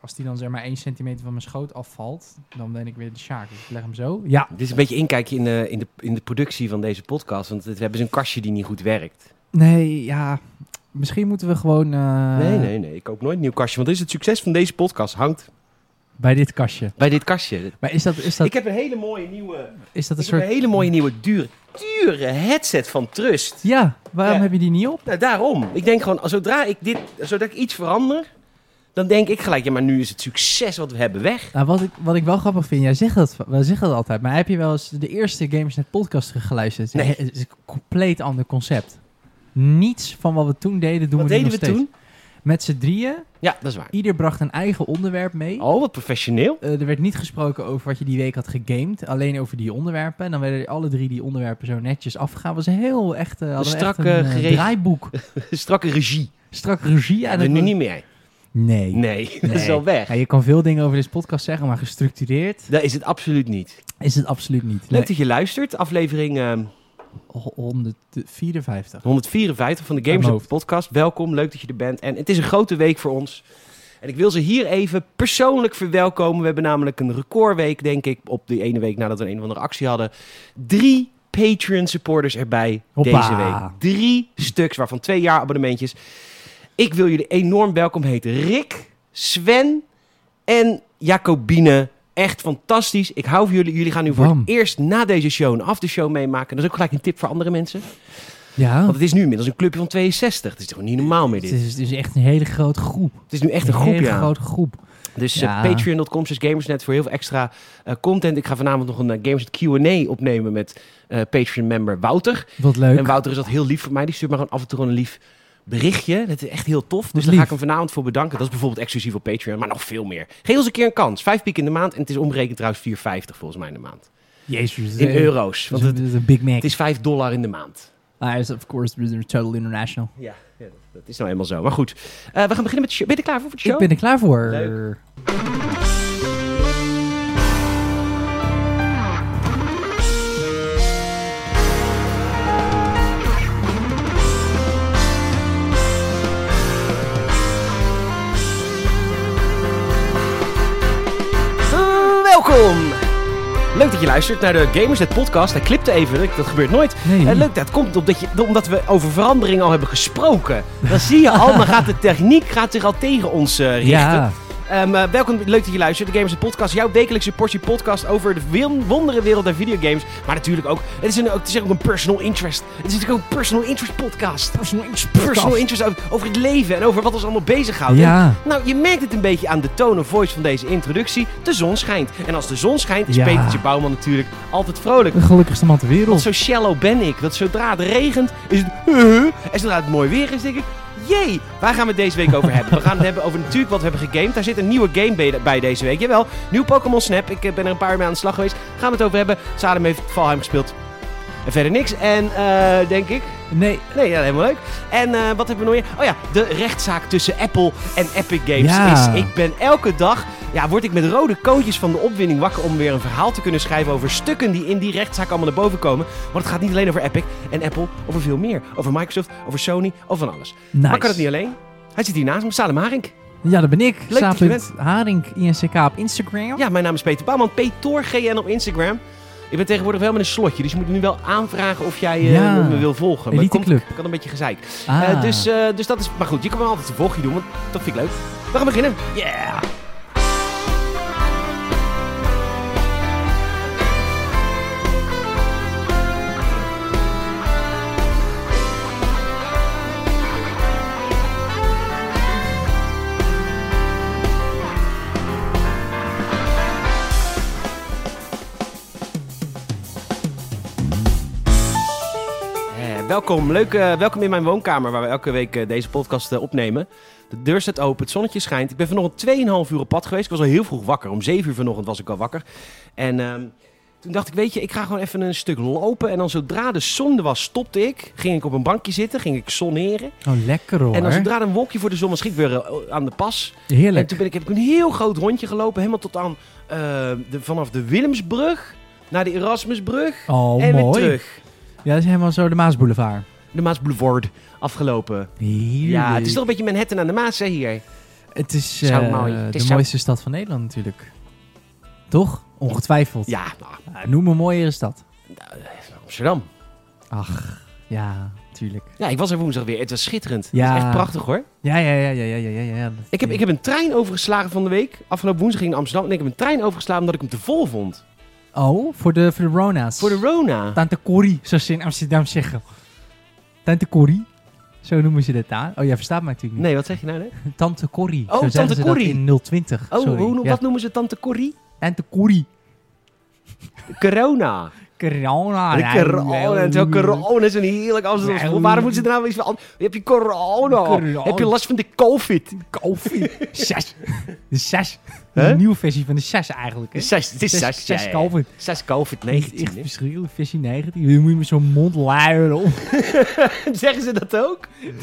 Als die dan zeg maar 1 centimeter van mijn schoot afvalt, dan ben ik weer de Sjaak. Dus ik leg hem zo. Ja. Dit is een beetje inkijkje in, eh, in, de, in de productie van deze podcast. Want het- we hebben zo'n kastje die niet goed werkt. Nee, ja. Misschien moeten we gewoon eh, nee, nee, nee. Ik koop nooit een nieuw kastje. Want dit is het succes van deze podcast hangt bij dit kastje. bij dit kastje. Maar is dat, is dat, Ik heb een hele mooie nieuwe, is dat een ik heb soort... een hele mooie nieuwe dure, dure headset van Trust. Ja, waarom Ja. heb je die niet op? Nou, daarom. Ik denk gewoon, zodra ik dit, zodra ik iets verander, dan denk ik gelijk, ja, maar nu is het succes wat we hebben weg. Nou, wat ik, wat ik wel grappig vind, jij zegt dat, wij zeggen dat altijd, maar heb je wel eens de eerste Gamesnet podcast teruggeluisterd? Nee. Het is een compleet ander concept. Niets van wat we toen deden, doen wat we nu deden we nog steeds. toen? Met z'n drieën, Ja, dat is waar. ieder bracht een eigen onderwerp mee. Oh, wat professioneel. Eh, er werd niet gesproken over wat je die week had gegamed, alleen over die onderwerpen. En dan werden alle drie die onderwerpen zo netjes afgegaan. was een heel echt, eh, hadden we strak, echt een eh, eh, gereg- draaiboek. Strakke regie. Strak regie. Ja, aan dat het nu niet meer. Nee. Nee, dat is Nee. al weg. Ja, je kan veel dingen over deze podcast zeggen, maar gestructureerd Dat is het absoluut niet. is het absoluut niet. Leuk dat je luistert. Aflevering ehm, Ho- 154. 154 van de Uit Gamers mijn hoofd. Up Podcast. Welkom, leuk dat je er bent. En het is een grote week voor ons. En ik wil ze hier even persoonlijk verwelkomen. We hebben namelijk een recordweek, denk ik, op die ene week nadat we een of andere actie hadden. Drie Patreon supporters erbij Hoppa. deze week. Drie stuks, waarvan twee jaar abonnementjes. Ik wil jullie enorm welkom heten. Rick, Sven en Jacobine. Echt fantastisch. Ik hou van jullie. Jullie gaan nu voor Bam. het eerst na deze show een aftershow meemaken. Dat is ook gelijk een tip voor andere mensen. Ja, Want het is nu inmiddels een clubje van 62. Het is toch niet normaal meer het dit. is, het is echt een hele grote groep. Het is nu echt een hele groep, ja. grote groep. Dus eh, Ja. patreon.com slash gamersnet voor heel veel extra eh, content. Ik ga vanavond nog een eh, Gamersnet Q&A opnemen met eh, Patreon-member Wouter. Wat leuk. En Wouter is dat heel lief voor mij. Die stuurt me gewoon af en toe gewoon een lief berichtje. Dat is echt heel tof. Dus Wat daar ga ik lief. hem vanavond voor bedanken. Dat is bijvoorbeeld exclusief op Patreon, maar nog veel meer. Geef ons een keer een kans. Vijf piek in de maand. En het is omgerekend trouwens 4,50 volgens mij in de maand. Jezus. In euro's. Want Want het, is een Big Mac. het is 5 dollar in de maand. Ah, is of course total international. Ja, ja, dat- dat is nou helemaal zo. Maar goed, Eh, we gaan beginnen met de show. Ben je er klaar voor, voor de show? Ik ben er klaar voor. Leuk. Mm, Welkom! Leuk dat je luistert naar de Gamers Net podcast. Hij klipte even, dat- dat gebeurt nooit. Nee. En leuk, dat komt omdat, je, omdat we over verandering al hebben gesproken. Dan zie je al, dan gaat de techniek gaat zich al tegen ons eh, richten. Ja. Ehm, eh, welkom, leuk dat je luistert. De Gamers Net Podcast, jouw wekelijkse portie podcast over de wil- wonderenwereld der videogames. Maar natuurlijk ook, het is, een, het is ook een personal interest. Het is natuurlijk ook een personal interest podcast. Personal Personal interest over, over het leven en over wat ons allemaal bezighoudt. Ja. Nou, je merkt het een beetje aan de toon en voice van deze introductie. De zon schijnt. En als de zon schijnt, is Ja. Petertje Bouwman natuurlijk altijd vrolijk. De gelukkigste man ter Want wereld. zo shallow ben ik. Dat zodra het regent, is het... huh. En zodra het mooi weer is, denk ik... Jee, waar gaan we het deze week over hebben? We gaan het hebben over natuurlijk wat we hebben gegamed. Daar zit een nieuwe game bij- bij deze week. Jawel, nieuw Pokémon Snap. Ik eh, ben er een paar uur mee aan de slag geweest. Gaan we het over hebben. Salem heeft Valheim gespeeld. En verder niks. En eh, denk ik... Nee. Nee, ja, helemaal leuk. En eh, wat hebben we nog meer? Oh ja, de rechtszaak tussen Apple en Epic Games Ja. is... Ik ben elke dag... Ja, word ik met rode koontjes van de opwinding wakker om weer een verhaal te kunnen schrijven over stukken die in die rechtszaak allemaal naar boven komen. Want het gaat niet alleen over Epic en Apple, over veel meer. Over Microsoft, over Sony, over van alles. Nice. Maar ik kan het niet alleen. Hij zit hier naast me, Salem Haring. Ja, dat ben ik. dat je Sapit bent. Haring, INCK op Instagram. Ja, mijn naam is Peter Bouwman, PetorGN op Instagram. Ik ben tegenwoordig wel met een slotje, dus je moet me nu wel aanvragen of jij eh, Ja. me wil volgen. Maar Elite komt- Club. kan een beetje gezeik. Ah. Eh, dus, eh, dus dat is. Maar goed, je kan wel altijd een volgje doen, want dat vind ik leuk. We gaan beginnen. Yeah. Eh, welkom, leuk, eh, welkom in mijn woonkamer waar we elke week eh, deze podcast eh, opnemen. De deur staat open, het zonnetje schijnt. Ik ben vanochtend 2,5 uur op pad geweest. Ik was al heel vroeg wakker. Om 7 uur vanochtend was ik al wakker. En ehm, toen dacht ik, weet je, ik ga gewoon even een stuk lopen. En dan zodra de zon er was, stopte ik. Ging ik op een bankje zitten, ging ik zonneren. Oh, lekker hoor. En dan zodra er een wolkje voor de zon was, ging ik weer eh, aan de pas. En Heerlijk. toen ben ik, heb ik een heel groot rondje gelopen, helemaal tot aan eh, de, vanaf de Willemsbrug naar de Erasmusbrug. Oh, en weer mooi. terug. Ja, dat is helemaal zo de Maasboulevard. De Maas Boulevard afgelopen. Heerlijk. Ja, het is toch een beetje Manhattan aan de Maas, hè, hier. Het is Zou eh, mooi. Het de is zo- mooiste stad van Nederland natuurlijk. Toch? Ongetwijfeld. Ja, nou, Nou, Noem een mooiere stad. Amsterdam. Ja, tuurlijk. Ja, ik was er woensdag weer. Het was schitterend. Ja. Het is echt prachtig hoor. Ja, ja, ja, ja, ja, ja, ja. ja. Dat- Ik heb, ik heb een trein overgeslagen van de week. Afgelopen woensdag ging ik naar Amsterdam en ik heb een trein overgeslagen omdat ik hem te vol vond. Oh, voor de, voor de Rona's. Voor de Rona. Tante Corrie, zoals ze in Amsterdam zeggen. Tante Corrie. Zo noemen ze dat daar. Oh, jij verstaat mij natuurlijk niet. Nee, wat zeg je nou net? Tante Corrie. Oh, zo zeggen Tante ze dat Corrie. in 020. Oh, Sorry. hoe, noem- Ja. wat noemen ze tante Corrie? Tante Corrie. Corona. Corona. De corona. En zo corona is een heerlijk Amsterdamse Nee. gevoel. Waarom moeten ze er nou iets van anders? Heb je corona? Corona. Heb je last van de COVID? Koffie. Zes. De zes. Hè? De nieuwe versie van de zes eigenlijk. Hè? Zes, het is Zes- zes. zes ja, ja. COVID. Zes COVID-19. Echt hè. verschrikkelijk. Versie 19. Nu moet je met zo'n mond luieren. om- Zeggen ze dat ook?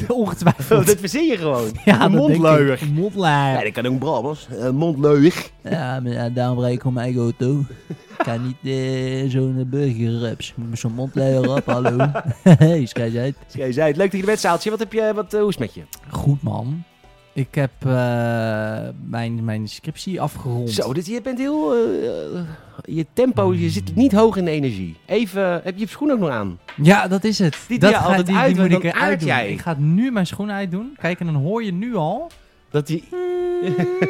Ongetwijfeld. Oh, dat verzin je gewoon. Ja, dat denk een ik. mondluier. Een Mondluier. Ja, dat kan ook Brabants. Eh, mondluier. Ja, maar ja, daarom rijd ik om mijn eigen auto. Ik kan niet eh, zo'n burgerrups. eh, Moet me zo'n mondluier op, hallo. hey, schijt uit. Jij zei het. Leuk dat je er bent, Saaltje. Wat heb je, wat, eh, hoe is het met je? Goed, man. Ik heb eh, mijn, mijn scriptie afgerond. Zo, dit, je bent heel... eh, eh, je tempo, je zit niet hoog in de energie. Even, heb je je schoen ook nog aan? Ja, dat is het. Die dat doe je altijd uit, die want moet ik dan eruit aard doen. jij. Ik ga nu mijn schoen uitdoen. Kijk, en dan hoor je nu al. Dat die...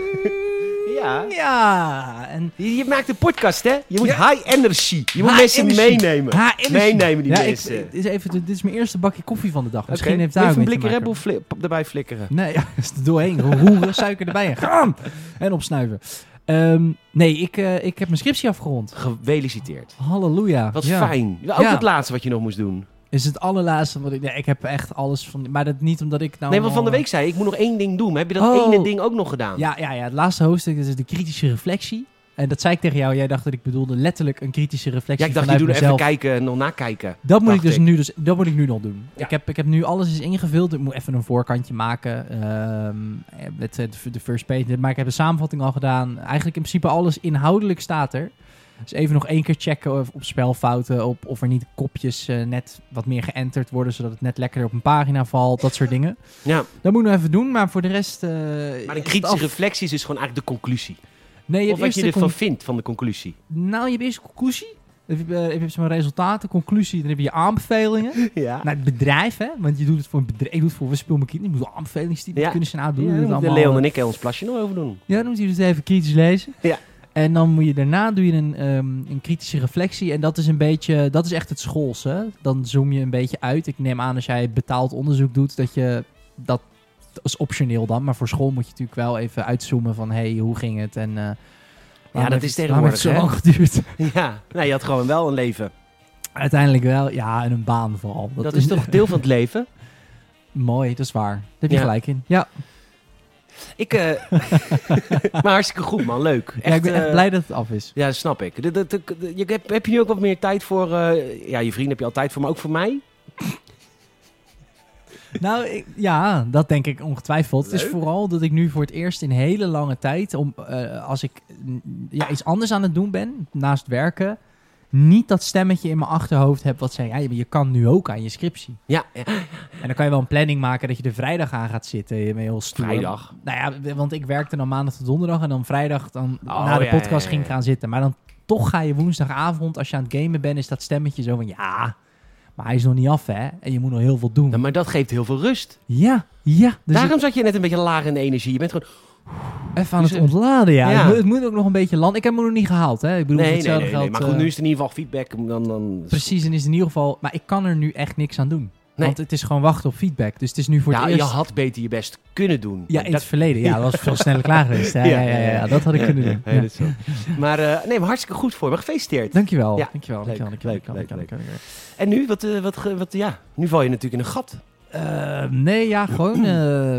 Ja. Ja. En Je, je maakt een podcast, hè? Je moet Ja. high energy. Je moet High mensen energy. meenemen. Ha, energie. Meenemen die ja, ik- mensen. dit is even, dit is mijn eerste bakje koffie van de dag. Misschien Oké. heeft daar ook Even een mee te blikker maken. hebben of flip- erbij flikkeren. Nee, ja, is er doorheen. Roeren, suiker erbij en gaan. En opsnuiven. Ehm, nee, ik, eh, ik heb mijn scriptie afgerond. Gefeliciteerd. Halleluja. Wat Ja. fijn. Ook Ja. het laatste wat je nog moest doen. Is het allerlaatste wat ik... Nee, ik heb echt alles van... Maar dat niet omdat ik nou... nee, want van de allemaal- week zei je, ik moet nog één ding doen. Maar heb je dat Oh. ene ding ook nog gedaan? Ja, ja, ja, het laatste hoofdstuk is de kritische reflectie. En dat zei ik tegen jou. Jij dacht dat ik bedoelde letterlijk een kritische Ja, reflectie ik dacht, je vanuit doet er even mezelf. kijken en nog nakijken. Dat moet, ik dacht dus ik. nu, dus, dat moet ik nu nog doen. Ja. Ik, heb, ik heb nu alles is ingevuld. Ik moet even een voorkantje maken. ehm, met eh, de, de first page. Maar ik heb de samenvatting al gedaan. Eigenlijk in principe alles inhoudelijk staat er. Dus even nog één keer checken of, op spelfouten. Op, of er niet kopjes eh, net wat meer geënterd worden. Zodat het net lekkerder op een pagina valt. Dat soort dingen. Ja, Dat moet ik nog even doen. Maar voor de rest... eh, maar is de het kritische af. reflectie is dus gewoon eigenlijk de conclusie. Nee, je Of hebt wat eerst je de ervan con- vindt van de conclusie. Nou, je hebt eerst de conclusie. Dan heb je, eh, heb je zo'n resultaten, conclusie. Dan heb je je aanbevelingen. Ja. Naar het bedrijf, hè? Want je doet het voor een bedrijf. Ik doe het voor, we spelen mijn kinderen. Ik doe aanbevelingsdienst. Ja. Ja. Kunnen ze nou doen? Ja, Ja, daar dat moeten allemaal. Leon en ik ons plasje nog over doen. Ja, dan moet je dus even kritisch lezen. Ja. En dan moet je daarna doe je een, ehm, een kritische reflectie. En dat is een beetje, dat is echt het schoolse. Dan zoom je een beetje uit. Ik neem aan als jij betaald onderzoek doet, dat je dat, dat is optioneel dan. Maar voor school moet je natuurlijk wel even uitzoomen van, hey, hoe ging het? En, eh, waarom dat heeft- is waarom heeft het zo lang tegenwoordig, geduurd? Ja, nou, je had gewoon wel een leven. Uiteindelijk wel, ja, en een baan vooral. Dat, is toch deel van het leven? Mooi, dat is waar. Daar heb je Ja. gelijk in. Ja, Ik, eh, maar hartstikke goed, man. Leuk. Echt, ja, ik ben echt eh, blij dat het af is. Ja, dat snap ik. Dat- dat- dat- je, heb, heb je nu ook wat meer tijd voor... eh, ja, je vrienden heb je altijd voor, maar ook voor mij? Nou, ik- ja, dat denk ik ongetwijfeld. Het is Leuk. vooral dat ik nu voor het eerst in hele lange tijd, om, eh, als ik mm, ja, iets anders aan het doen ben, naast werken, niet dat stemmetje in mijn achterhoofd heb wat zei, ja, je je kan nu ook aan je scriptie. Ja, ja, En dan kan je wel een planning maken dat je er vrijdag aan gaat zitten. Je bent heel stoer. vrijdag. Nou ja, want ik werkte dan maandag tot donderdag en dan vrijdag dan Oh, na de ja, podcast ja, ging ik ja. gaan zitten. Maar dan toch ga je woensdagavond, als je aan het gamen bent, is dat stemmetje zo van, ja, maar hij is nog niet af, hè? En je moet nog heel veel doen. Nou, maar dat geeft heel veel rust. Ja, ja. Dus Daarom zat je net een beetje laag in de energie. Je bent gewoon... Even aan Dus het het- ontladen, ja. Ja. Het, moet, het moet ook nog een beetje landen. Ik heb hem nog niet gehaald, hè. Ik bedoel, Nee, nee, nee, hetzelfde nee, geldt... Maar goed, eh, nu is het in ieder geval feedback. Dan, dan... Precies, en is het in ieder geval... Maar ik kan er nu echt niks aan doen. Nee. Want het is gewoon wachten op feedback. Dus het is nu voor Ja, het je eerst... had beter je best kunnen doen. Ja, in het verleden. Ja, dat was veel sneller klaar geweest. Ja, Ja, ja, ja, ja, ja, dat had ik kunnen doen. Ja, Ja. dat is zo. Maar eh, nee, maar hartstikke goed voor me. Gefeliciteerd. Dankjewel. Ja, Dankjewel, leuk, dankjewel, dankjewel, leuk, dankjewel, leuk, dankjewel. En nu? Wat, eh, wat, ge- wat, ja, nu val je natuurlijk in een gat. Eh, nee, ja, gewoon. eh,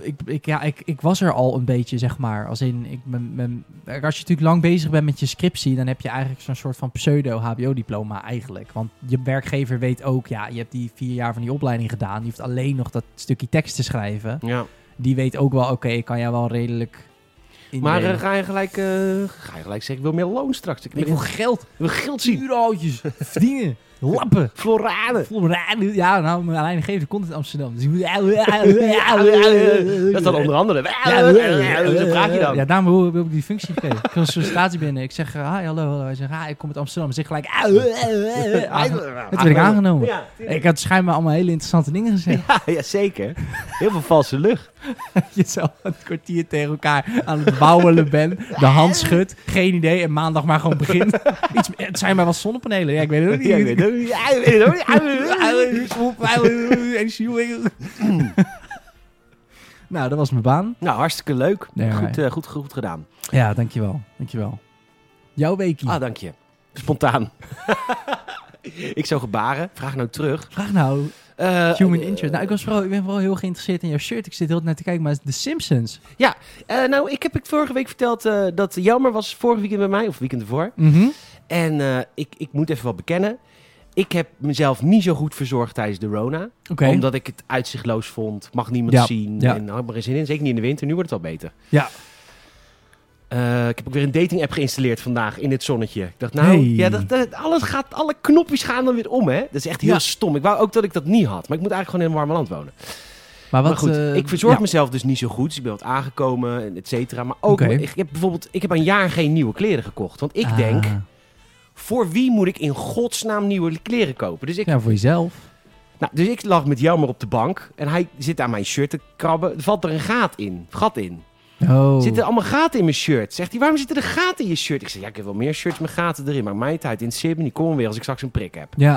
ik, ik, ja, ik, ik was er al een beetje, zeg maar. Als, in, ik, mijn, mijn- kijk, als je natuurlijk lang bezig bent met je scriptie, dan heb je eigenlijk zo'n soort van pseudo-HBO-diploma eigenlijk. Want je werkgever weet ook, ja, je hebt die vier jaar van die opleiding gedaan. Je hoeft alleen nog dat stukje tekst te schrijven. Ja. Die weet ook wel, oké, ik kan jou wel redelijk. Maar indelen. eh, ga, je gelijk, eh, ga je gelijk zeggen, ik wil meer loon straks. Ik, ik wil geld, ik wil geld zien. duurhoutjes, verdienen. Lappen. Floralen. Floralen. Ja, nou, mijn alleen geeft komt uit Amsterdam. Dus je moet... Dat is dan onder andere. Zo praat je dan. eh, Ja, daarom wil, wil ik die functie geven. Ik kan een sollicitatie binnen. Ik zeg, hi, hallo, hallo. Hij zegt, hi, ik kom uit Amsterdam. Hij zegt gelijk... aange- Het werd ik aangenomen. Ah, Ja, tuurlijk. Ik had schijnbaar allemaal hele interessante dingen gezegd. ja, ja, zeker. Heel veel valse lucht. Jezelf een kwartier tegen elkaar aan het bouwen bent. De hand schudt. Geen idee. En maandag maar gewoon begint. Iets, het zijn maar wat zonnepanelen. Ja, ik weet het ook niet. Ja, ik weet het ook niet. Ja, ik weet het ook niet. Ja, ik weet het ook niet. Nou, dat was mijn baan. Nou, hartstikke leuk. Nee, goed, maar- eh, goed, goed gedaan. Ja, dankjewel. Dankjewel. Jouw weekie. Ah, dank je. Spontaan. ik zou gebaren. Vraag nou terug. Vraag nou, Eh, human eh, interest. Nou, ik, was vooral, ik ben vooral heel geïnteresseerd in jouw shirt. Ik zit heel naar te kijken, maar het is The Simpsons. Ja, eh, nou, ik heb het vorige week verteld eh, dat Jelmer was vorig weekend bij mij, of weekend ervoor. En eh, ik, ik moet even wat bekennen. Ik heb mezelf niet zo goed verzorgd tijdens de Rona. Oké. Omdat ik het uitzichtloos vond. Mag niemand Ja, zien. ja. En had maar geen zin in. Zeker niet in de winter. Nu wordt het wel beter. Ja. Eh, ik heb ook weer een dating app geïnstalleerd vandaag in dit zonnetje. Ik dacht, nou, Hey. ja, dat, dat- alles gaat, alle knopjes gaan dan weer om, hè? Dat is echt heel Ja. stom. Ik wou ook dat ik dat niet had. Maar ik moet eigenlijk gewoon in een warme land wonen. Maar, wat, maar goed, eh, ik verzorg ja. mezelf dus niet zo goed. Dus ik ben wat aangekomen, en et cetera. Maar ook, Oké. ik heb bijvoorbeeld, ik heb een jaar geen nieuwe kleren gekocht. Want ik Ah. denk, voor wie moet ik in godsnaam nieuwe kleren kopen? Dus ik, Ja, voor jezelf. nou, dus ik lag met jou maar op de bank. En hij zit aan mijn shirt te krabben. Er valt er een gaat in, gat in. Oh. Zitten er allemaal gaten in mijn shirt? Zegt hij, waarom zitten er gaten in je shirt? Ik zeg, ja, ik heb wel meer shirts met gaten erin. Maar mij het uit in het zit me niet. Kom weer als ik straks een prik heb. Ja.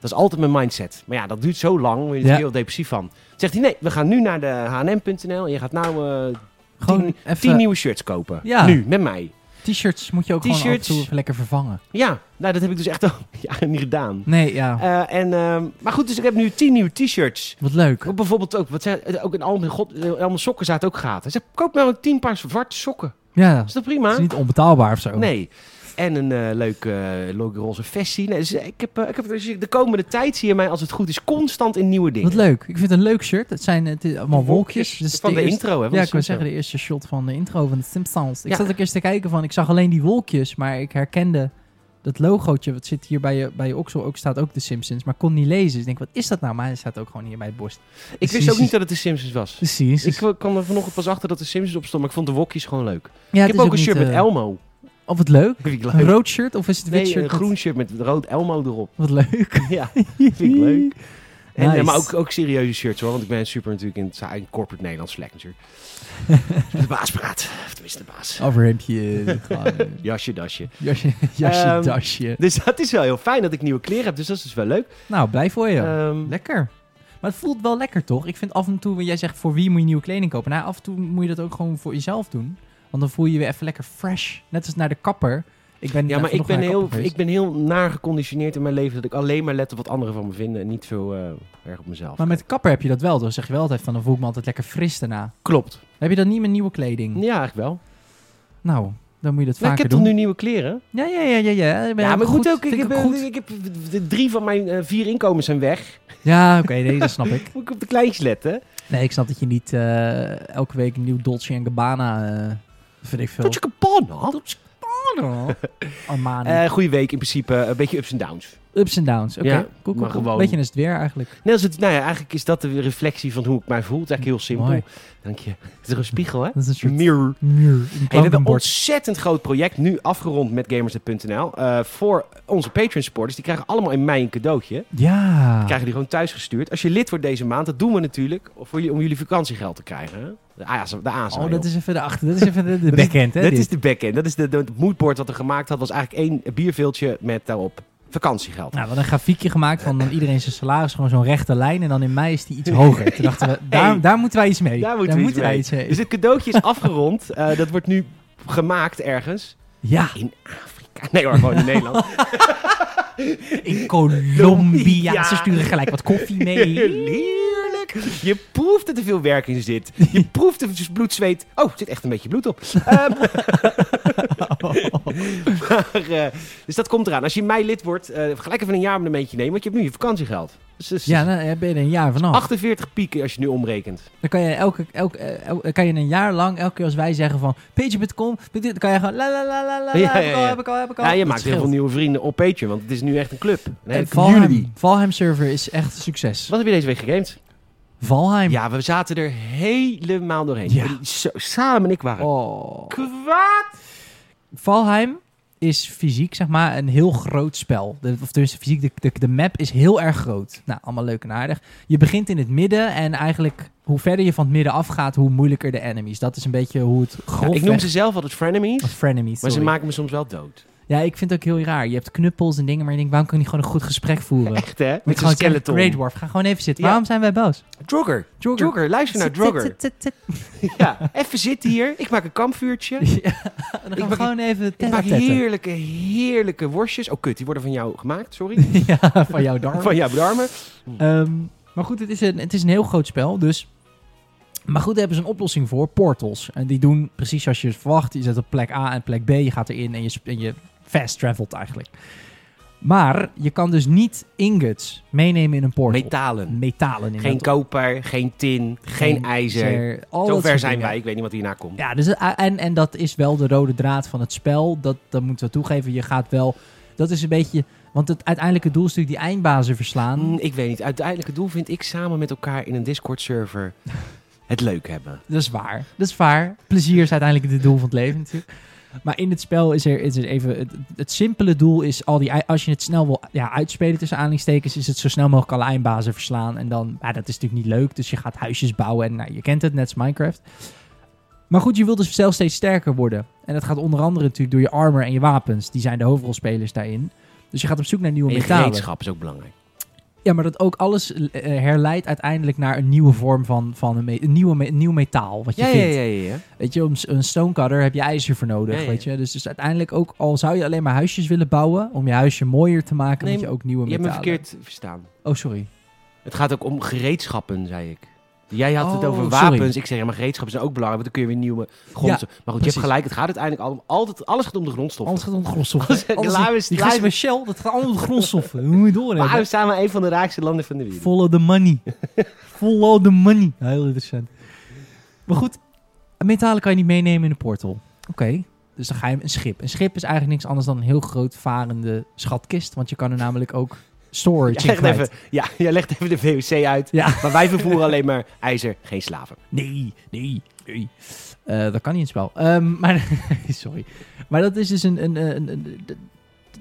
Dat is altijd mijn mindset. Maar ja, dat duurt zo lang. Daar word je Ja. heel depressief van. Zegt hij, nee, we gaan nu naar de H&M H&M.nl. En je gaat nou eh, Gewoon tien, even- tien nieuwe shirts kopen. Ja. Nu, met mij. T-shirts moet je ook gewoon af en T-shirts. toe even lekker vervangen. Ja, nou, dat heb ik dus echt al jaren niet gedaan. Nee, ja. Eh, en, ehm, maar goed, dus ik heb nu tien nieuwe t-shirts. Wat leuk. Ook Bijvoorbeeld ook, wat zei, ook in al mijn, god, eh, allemaal sokken zaten ook gaten. Hij zegt, koop nou tien paar zwarte sokken. Ja. Is Het dat prima? is niet Oh. onbetaalbaar of zo. Nee. En een eh leuk eh, leuk roze vestie. Nee, dus eh, ik heb, eh, ik heb, dus ik- de komende tijd zie je mij, als het goed is, constant in nieuwe dingen. Wat leuk. Ik vind het een leuk shirt. Het zijn het is allemaal wolkjes. Dus van de, eerste- intro, hè? van Ja, de ik wil Simpsons. zeggen de eerste shot van de intro van de Simpsons. Ik Ja. zat ook eerst te kijken van, ik zag alleen die wolkjes, maar ik herkende dat logootje wat zit hier bij je, bij je oksel ook staat ook de Simpsons, maar kon niet lezen. Dus ik denk, wat is dat nou? Maar hij staat ook gewoon hier bij het borst. Ik wist ook niet dat het de Simpsons was. De Simpsons. Ik eh, kwam er vanochtend pas achter dat de Simpsons op stond, maar ik vond de wokjes gewoon leuk. ja, ik heb ook een shirt met Elmo. Of het leuk? Vind ik leuk. Een eh, rood shirt of is het wit Nee, shirt? een met- groen shirt met rood Elmo erop. Wat leuk. ja, vind ik leuk. En, Nice. eh, maar ook, ook serieuze shirts hoor, want ik ben super natuurlijk in het in corporate Nederlands vlek natuurlijk. Dus met de baas praat. Of tenminste de baas. Overhemdje. gewoon, eh, Jasje, dasje. jasje, jasje Ehm, dasje. Dus dat is wel heel fijn dat ik nieuwe kleren heb, dus dat is dus wel leuk. Nou, blij voor je. Ehm, Lekker. Maar het voelt wel lekker, toch? Ik vind af en toe, want jij zegt voor wie moet je nieuwe kleding kopen? Nou, af en toe moet je dat ook gewoon voor jezelf doen. Want dan voel je je weer even lekker fresh. Net als naar de kapper. Ik ben ja, maar ik ben, heel, ik Ik... ben heel naar geconditioneerd in mijn leven dat ik alleen maar let op wat anderen van me vinden en niet veel eh, erg op mezelf. Maar met de kapper heb je dat wel. Dan zeg je wel altijd van, dan voel ik me altijd lekker fris daarna. Klopt. Heb je dat niet met nieuwe kleding? Ja, eigenlijk wel. Nou, dan moet je dat Maar ik vaker heb doen. toch nu nieuwe kleren? Ja, ja, ja, ja. ja. Ik ben ja, maar goed, ook. Ik vind heb, ook eh, goed. ik heb de drie van mijn eh, vier inkomens zijn weg. Ja, oké, nee, dat snap ik. Moet ik op de kleintjes letten. Nee, ik snap dat je niet eh, elke week een nieuw Dolce en Gabbana... eh vind ik veel. Tot je kapot, man. Armani. Eh, goede week in principe. Een beetje ups en downs. Ups en downs. Oké, Ja, cool, cool, maar cool. gewoon- Beetje is het weer eigenlijk. Net als het, nou ja, eigenlijk is dat de reflectie van hoe ik mij voel. Het is eigenlijk heel simpel. Mooi. Dank je. Het is toch een spiegel, hè? Dat is een soort Mirror. muur. Een Hey, we hebben een plankenbord. ontzettend groot project nu afgerond met Gamersnet.nl. eh, voor onze Patreon-supporters. Die krijgen allemaal in mei een cadeautje. Ah. Ja. Krijgen die gewoon thuis gestuurd. Als je lid wordt deze maand, dat doen we natuurlijk voor jullie, om jullie vakantiegeld te krijgen. Hè? De ASA. De ASA oh, joh. dat is even de achter. Dat is even de, de Dat is- backend, hè? Dat dit. is de backend. Dat is de, de, het moodboard wat we gemaakt hadden. Was eigenlijk één bierveeltje met daarop Nou, vakantiegeld. we hadden een grafiekje gemaakt van dan iedereen zijn salaris. Gewoon zo'n rechte lijn. En dan in mei is die iets hoger. Toen dachten we, daar, Hey. daar moeten wij iets mee. wij iets mee. Dus het cadeautje is afgerond. Eh, dat wordt nu gemaakt ergens. Ja, In Afrika. Nee hoor, gewoon in Oh, Nederland. in Colombia. Ja. Ze sturen gelijk wat koffie mee. Heerlijk. Je proeft dat er veel werk in zit. Je proeft dat er bloed, zweet. Oh, er zit echt een beetje bloed op. Ehm, Oh. Maar, eh, dus dat komt eraan. Als je in mei lid wordt, eh, gelijk even een jaar abonnementje nemen, want je hebt nu je vakantiegeld. Dus, dus- Ja, dan eh, ben je er een jaar vanaf. 48 pieken als je nu omrekent. Dan kan je, elke, elke, eh, el- el- kan je een jaar lang, elke keer als wij zeggen van Patreon.com, doe dit, dan kan je gewoon la la la la la, Ja, ja, heb ik al, ja. heb ik al, heb ik al. Ja, je Dat maakt heel scheelt. veel nieuwe vrienden op Patreon, want het is nu echt een club. Een hele Eh, Valheim, community. Valheim server is echt een succes. Wat heb je deze week gegamed? Valheim. Ja, we zaten er helemaal doorheen. Ja. Zo, Samen en ik waren Oh. kwaad. Valheim is fysiek, zeg maar, een heel groot spel. De, of tenminste, fysiek, de, de, de map is heel erg groot. Nou, allemaal leuk en aardig. Je begint in het midden en eigenlijk hoe verder je van het midden afgaat, hoe moeilijker de enemies. Dat is een beetje hoe het Ja, grofweg... ik noem ze zelf altijd frenemies, Of frenemies, maar ze Oh, sorry. maken me soms wel dood. Ja, ik vind het ook heel raar. Je hebt knuppels en dingen, maar je denkt, waarom kan je niet gewoon een goed gesprek voeren? Echt hè? Met Moet zo'n gewoon zeggen, skeleton. Great Dwarf, ga gewoon even zitten. Ja. Waarom zijn wij boos? Jogger. Jogger. Jogger, luister naar Jogger. Tut, tut, tut, tut. Ja, even zitten hier. Ik maak een kampvuurtje. Ja, dan gaan maak- we gewoon even Ik maak tetten. heerlijke, heerlijke worstjes. Oh kut, die worden van jou gemaakt, sorry. Ja, van jouw darm. Van jouw darmen. Ehm, maar goed, het is, een, het is een heel groot spel, dus... Maar goed, daar hebben ze een oplossing voor, portals. En die doen precies zoals je het verwacht. Je zet op plek A en plek B, je gaat erin en je, sp- en je fast travelt eigenlijk. Maar je kan dus niet ingots meenemen in een portal. Metalen. Metalen in Geen koper, geen tin, geen ijzer. Al dat Zover soort zijn dingen. wij. Ik weet niet wat hierna komt. Ja, dus, eh, en, en dat is wel de rode draad van het spel. Dat, dat moeten we toegeven. Je gaat wel... Dat is een beetje... Want het uiteindelijke doel is natuurlijk die eindbazen verslaan. Mm, ik weet niet. Uiteindelijk het doel vind ik samen met elkaar in een Discord-server het leuk hebben. Dat is waar. Dat is waar. Plezier is uiteindelijk het doel van het leven natuurlijk. Maar in het spel is er, is er even... Het, het simpele doel is al die... ei- Als je het snel wil ja, uitspelen tussen aanhalingstekens... is het zo snel mogelijk alle eindbazen verslaan. En dan... Ja, dat is natuurlijk niet leuk. Dus je gaat huisjes bouwen. En nou, je kent het, net als Minecraft. Maar goed, je wilt dus zelf steeds sterker worden. En dat gaat onder andere natuurlijk door je armor en je wapens. Die zijn de hoofdrolspelers daarin. Dus je gaat op zoek naar nieuwe En je metalen. gereedschap is ook belangrijk. Ja, maar dat ook alles eh, herleidt uiteindelijk naar een nieuwe vorm van, van een, me- een nieuwe me- een nieuw metaal. Wat je Ja, ja, vindt. ja, ja. ja. Weet je, om s- een stonecutter heb je ijzer voor nodig, Ja, ja, ja. weet je. Dus, dus uiteindelijk ook, al zou je alleen maar huisjes willen bouwen, om je huisje mooier te maken, Nee, moet je ook nieuwe Je hebt me metalen. verkeerd verstaan. Oh, sorry. Het gaat ook om gereedschappen, zei ik. Jij had het Oh, over sorry. wapens. Ik zeg, ja, maar gereedschappen zijn ook belangrijk, want dan kun je weer nieuwe grondstoffen... maar goed, je precies. hebt gelijk. Het gaat uiteindelijk al- altijd... Alles gaat om de grondstoffen. Anders gaat het om de grondstoffen. Alles- Alles- Laten we eens- die laten gasten we- met Shell, dat gaat allemaal om de grondstoffen. Dat moet je maar we doorhebben. staan maar een van de raakste landen van de wereld. Follow the money. Follow the money. Heel interessant. Maar goed, metalen kan je niet meenemen in de portal. Oké. Dus dan ga je een schip. Een schip is eigenlijk niks anders dan een heel groot varende schatkist. Want je kan er namelijk ook storage Jij in legt, kwijt. even, ja, jij legt even de VOC uit. Ja. Maar wij vervoeren alleen maar ijzer, geen slaven. Nee, nee, nee. Eh, dat kan niet in het spel. Ehm, maar, sorry. Maar dat is dus een... een, een, een- d- d-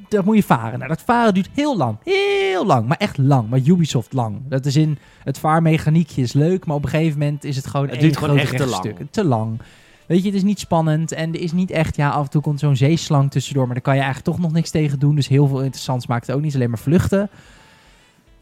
dat moet je varen. Nou, dat varen duurt heel lang. Heel lang. Maar echt lang. Maar Ubisoft lang. Dat is in... Het vaarmechaniekje is leuk, maar op een gegeven moment is het gewoon Het één duurt gewoon groot echt te lang. rechtstuk. Te lang. Weet je, het is niet spannend en er is niet echt... Ja, af en toe komt zo'n zeeslang tussendoor, maar daar kan je eigenlijk toch nog niks tegen doen. Dus heel veel interessants maakt het ook niet. Alleen maar vluchten.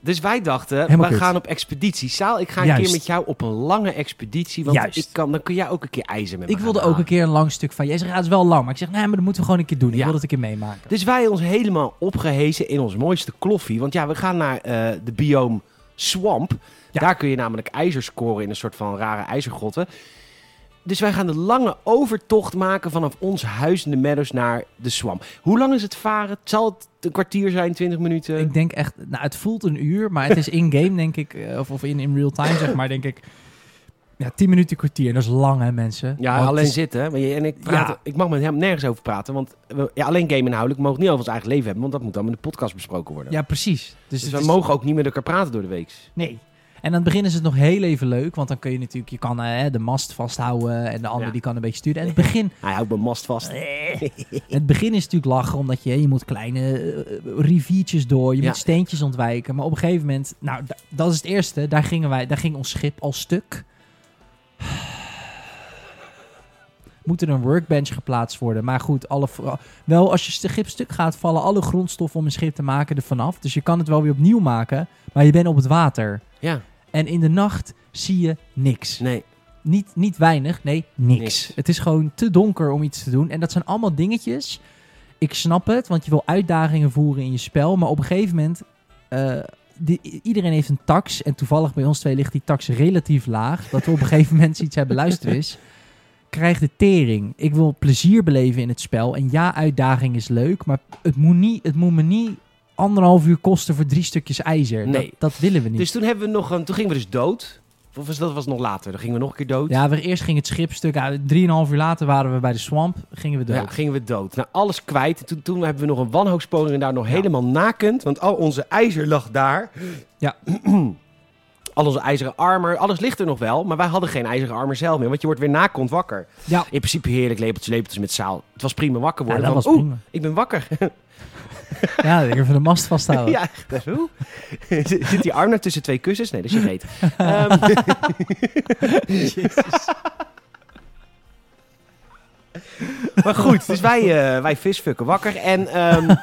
Dus wij dachten, Helemaal we kut. gaan op expeditie. Saal, ik ga een Juist. keer met jou op een lange expeditie. Want Juist. ik kan, dan kun jij ook een keer ijzer met me Ik wilde gaan ook een halen. keer een lang stuk van... Jij zegt, ja, het is wel lang. Maar ik zeg, nee, maar dat moeten we gewoon een keer doen. Ik Ja. wil dat een keer meemaken. Dus wij ons helemaal opgehezen in ons mooiste kloffie. Want ja, we gaan naar eh, de biome Swamp. Ja. Daar kun je namelijk ijzer scoren in een soort van rare ijzergrotten. Dus wij gaan de lange overtocht maken vanaf ons huis in de Meadows naar de Swamp. Hoe lang is het varen? Zal het een kwartier zijn, twintig minuten? Ik denk echt, nou, het voelt een uur, maar het is in-game, denk ik, eh, of, of in, in real time, zeg maar, denk ik. Ja, 10 minuten kwartier, en dat is lang, hè, mensen? Ja, Want alleen het is- zitten. hè. Maar je- en ik, praat, Ja. ik mag met hem nergens over praten. Want we, ja, alleen game inhoudelijk. We mogen niet over ons eigen leven hebben. Want dat moet dan in de podcast besproken worden. Ja, precies. Dus, dus het we is- mogen ook niet met elkaar praten door de week. Nee. En aan het begin is het nog heel even leuk, want dan kun je natuurlijk, je kan eh, de mast vasthouden en de ander Ja. die kan een beetje sturen. En het begin, Hij houdt mijn mast vast. het begin is natuurlijk lachen, omdat je, je moet kleine eh, riviertjes door, je Ja. moet steentjes ontwijken. Maar op een gegeven moment, nou, da- dat is het eerste, daar, gingen wij, daar ging ons schip al stuk. Moet er een workbench geplaatst worden. Maar goed, alle, vro- wel als je schip stuk gaat, vallen alle grondstoffen om een schip te maken er vanaf. Dus je kan het wel weer opnieuw maken, maar je bent op het water. Ja, En in de nacht zie je niks. nee. Niet, niet weinig, nee, niks. Niks. Het is gewoon te donker om iets te doen. En dat zijn allemaal dingetjes. Ik snap het, want je wil uitdagingen voeren in je spel. Maar op een gegeven moment. eh, die- i- iedereen heeft een tax. En toevallig bij ons twee ligt die tax relatief laag. Dat we op een gegeven moment iets hebben. Luister eens. krijg de tering. Ik wil plezier beleven in het spel. En ja, uitdaging is leuk, maar het moet, niet, het moet me niet anderhalf uur kosten voor drie stukjes ijzer. Nee. Dat, dat willen we niet. Dus toen, hebben we nog een, toen gingen we dus dood. Of was, dat was nog later. Dan gingen we nog een keer dood. ja, we, eerst ging het schip stuk. Ja, drieënhalf uur later waren we bij de swamp, gingen we dood. Ja, gingen we dood. Nou, alles kwijt. Toen, toen hebben we nog een wanhoopspoging en daar nog helemaal nakend. Want al onze ijzer lag daar. Ja. al onze ijzeren armer. Alles ligt er nog wel. Maar wij hadden geen ijzeren armer zelf meer. Want je wordt weer nakend wakker. Ja. In principe heerlijk lepeltjes, lepeltjes met zaal. Het was prima wakker Ja, worden. dat was Van, oeh, prima. ik ben wakker. Ja, ik even de mast vasthouden. ja, echt. hè? Oeh. Zit die arm nou tussen twee kussens? Nee, dat is je reet. Ehm, maar goed, dus wij, eh, wij visfukken wakker. En ehm,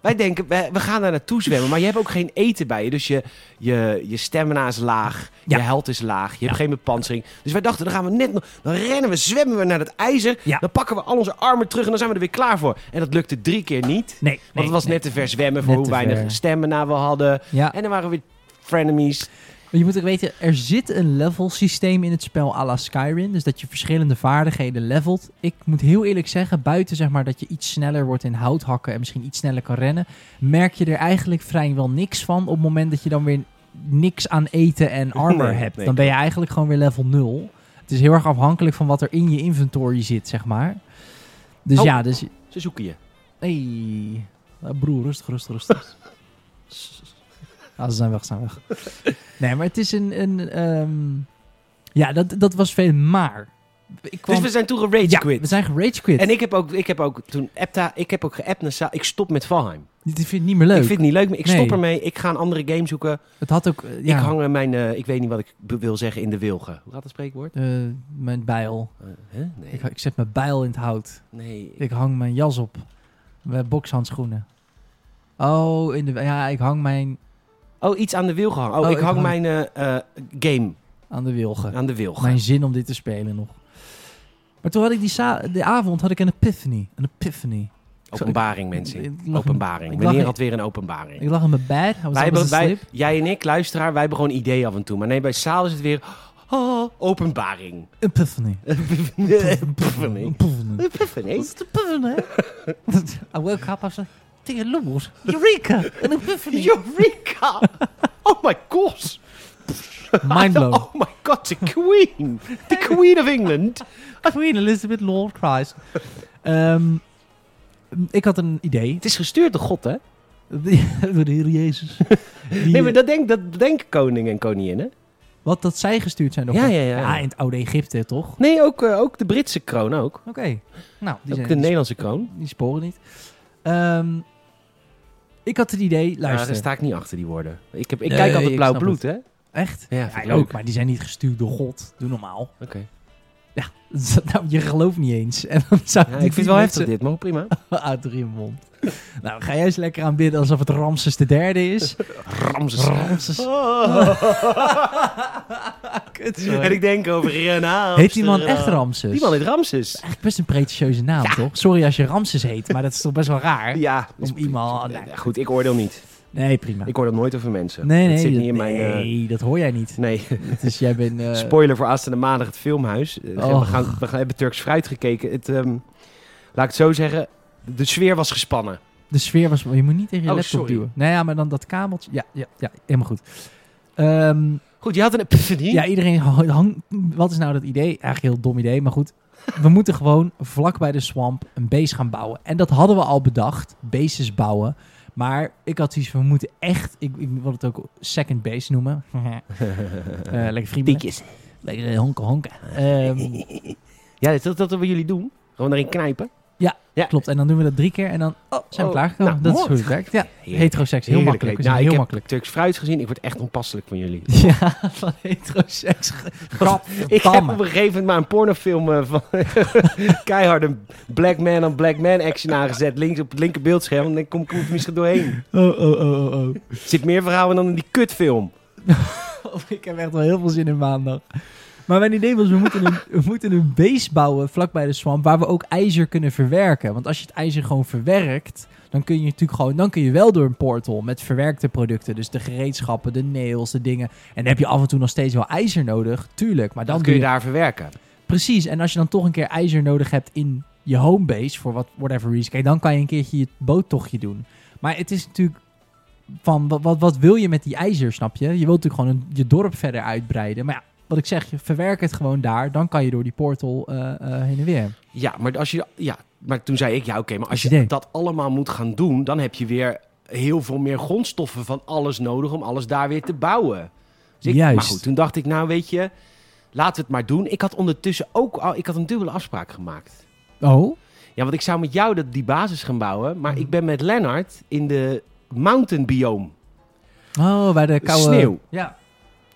wij denken, we, we gaan daar naartoe zwemmen. Maar je hebt ook geen eten bij je. Dus je, je, je stamina is laag. Ja. Je held is laag. Je hebt geen bepansering. Dus wij dachten, dan gaan we net nog... Dan rennen we, zwemmen we naar dat ijzer. Ja. Dan pakken we al onze armen terug en dan zijn we er weer klaar voor. En dat lukte drie keer niet. Nee, nee, Want het was nee. net te ver zwemmen voor Net hoe te weinig ver. stamina we hadden. Ja. En dan waren we weer frenemies. Maar je moet ook weten, er zit een level systeem in het spel à la Skyrim. Dus dat je verschillende vaardigheden levelt. Ik moet heel eerlijk zeggen, buiten zeg maar dat je iets sneller wordt in hout hakken en misschien iets sneller kan rennen, merk je er eigenlijk vrijwel niks van op het moment dat je dan weer niks aan eten en armor Nee, hebt. nee, dan ben je eigenlijk gewoon weer level 0. Het is heel erg afhankelijk van wat er in je inventory zit, zeg maar. Dus Oh. ja, dus... Ze zoeken je. Hey, broer, rustig, rustig, rustig. ah, ze zijn weg, ze zijn weg. Nee, maar het is een... een ehm, ja, dat, dat was veel maar. Ik kwam, Dus we zijn toen gerage ja, quit. we zijn gerage quit. En ik heb ook, ik heb ook toen appta, ik heb ook geappt naar Sa- Ik stop met Valheim. Dit vind ik niet meer leuk. Ik vind het niet leuk meer. Ik stop Nee. ermee. Ik ga een andere game zoeken. Het had ook... eh, ja, Ik hang eh, mijn, eh, ik weet niet wat ik be- wil zeggen, in de wilgen. Hoe gaat dat spreekwoord? eh, mijn bijl. Eh, hè? Nee. Ik, ik zet mijn bijl in het hout. nee. Ik hang mijn jas op. Mijn bokshandschoenen. Oh, in de, ja, ik hang mijn Oh, iets aan de wilgen hangen. Oh, Oh, ik ik hang hang- mijn eh, eh, game aan de wilgen. aan de wilgen. mijn zin om dit te spelen nog. Maar toen had ik die za- de avond had ik een epiphany. Een epiphany. Openbaring, mensen. Ik lag- Openbaring. ik lag- Wanneer had weer een Ik openbaring? lag in mijn bed. I was Wij up hebben, wij, asleep. jij en ik, luisteraar, wij hebben gewoon ideeën af en toe. Maar nee, bij Saal is het weer... Oh, openbaring. Epiphany. Epiphany. Epiphany. Epiphany. Dat is de epiphany. I woke up, I was like, dear lord, Eureka! Een epiphany. Eureka! Oh my gosh! Mind blown. Oh my god, the queen! The queen of England! Queen Elizabeth, Lord Christ. Ehm, ik had een idee. Het is gestuurd door God, hè? Door de Heer Jezus. Die- eh, Nee, maar dat denken dat denk koning en koninginnen. Wat dat zij gestuurd zijn door Ja, God. ja, ja. in het oude Egypte toch? Oké. Nee, ook, eh, ook de Britse kroon ook. Nou, die, Ook zijn, de die Nederlandse kroon. Die sporen niet. Ehm, ik had het idee, Ja, daar luister, sta ik niet achter die woorden. Ik, heb, ik Nee, kijk altijd ik blauw snap bloed, hè? echt? Ja, vind ik Ja, leuk. ook, maar die zijn niet gestuurd door God. Doe normaal. Oké. Nou, je gelooft niet eens. En dan zou Ja, ik vind het wel heftig dit, maar prima. Uit je mond. Nou, ga jij eens lekker aanbidden alsof het Ramses de derde is. Ramses. Ramses. Kut, sorry. En ik denk over Renaat. Heet die man echt Ramses? Die man heet Ramses. Eigenlijk best een pretentieuze naam, toch? Sorry als je Ramses heet, maar dat is toch best wel raar? Ja. Om iemand... Nee, Goed, ik oordeel niet. Nee, prima. Ik oordeel nooit over mensen. Nee, nee, Dat zit dat- niet in mijn... eh, nee, dat hoor jij niet. Nee, Dus jij bent... eh, spoiler voor aanstaande maandag het filmhuis. Eh, Oh. We, gaan, we gaan, hebben Turks fruit gekeken. Het, ehm, laat ik het zo zeggen, de sfeer was gespannen. De sfeer was... Je moet niet tegen je Oh, laptop sorry. duwen. Nou ja, maar dan dat kabeltje... Ja, ja, ja helemaal goed. Ehm, Goed, je had een epiphany. ja, iedereen hang- hang- Wat is nou dat idee? Eigenlijk een heel dom idee, maar goed. We moeten gewoon vlak bij de swamp een base gaan bouwen. En dat hadden we al bedacht. Bases bouwen. Maar ik had zoiets van, we moeten echt... Ik, ik wil het ook second base noemen. Eh, lekker vrienden. Pietjes. Lekker eh, honken honken. Ehm, Ja, dat, dat, dat willen jullie doen. Gewoon erin knijpen. Ja. Klopt, en dan doen we dat drie keer en dan oh, zijn we oh, klaargekomen. nou, dat is mooi. hoe het werkt. Ja, Heerlijk. heteroseks, heel Heerlijk makkelijk. leuk. We zijn Nou, ik heel heb makkelijk. Turks fruit gezien. Ik word echt onpasselijk van jullie. Ja, van heteroseks. Ik heb op Gadverdamme. een gegeven moment maar een pornofilm eh, van keihard een black man on black man action aangezet. Links op het linker beeldscherm. En dan kom ik er misschien doorheen. Oh, oh, oh, oh, oh. Er zit meer verhalen dan in die kutfilm. Ik heb echt wel heel veel zin in maandag. Maar mijn idee was, we moeten, een, we moeten een base bouwen vlakbij de swamp... waar we ook ijzer kunnen verwerken. Want als je het ijzer gewoon verwerkt... dan kun je natuurlijk gewoon... dan kun je wel door een portal met verwerkte producten. Dus de gereedschappen, de nails, de dingen. En dan heb je af en toe nog steeds wel ijzer nodig, tuurlijk. Maar dan Dan doe kun je daar verwerken. Precies, en als je dan toch een keer ijzer nodig hebt in je homebase, voor wat, whatever reason, kijk, dan kan je een keertje je boottochtje doen. Maar het is natuurlijk van, wat, wat, wat wil je met die ijzer, snap je? Je wilt natuurlijk gewoon een- je dorp verder uitbreiden. Maar ja, wat ik zeg, je verwerk het gewoon daar, dan kan je door die portal eh, eh, heen en weer. Ja, maar als je. Ja, maar toen zei ik, ja, oké, maar als Goed idee. je dat allemaal moet gaan doen, dan heb je weer heel veel meer grondstoffen van alles nodig om alles daar weer te bouwen. Dus ik, Maar Juist. goed, toen dacht ik, nou weet je, laten we het maar doen. Ik had ondertussen ook al, ik had een dubbele afspraak gemaakt. Oh, Ja, want ik zou met jou dat, die basis gaan bouwen, maar ik ben met Lennart in de mountain biome oh bij de koude... Sneeuw. Ja.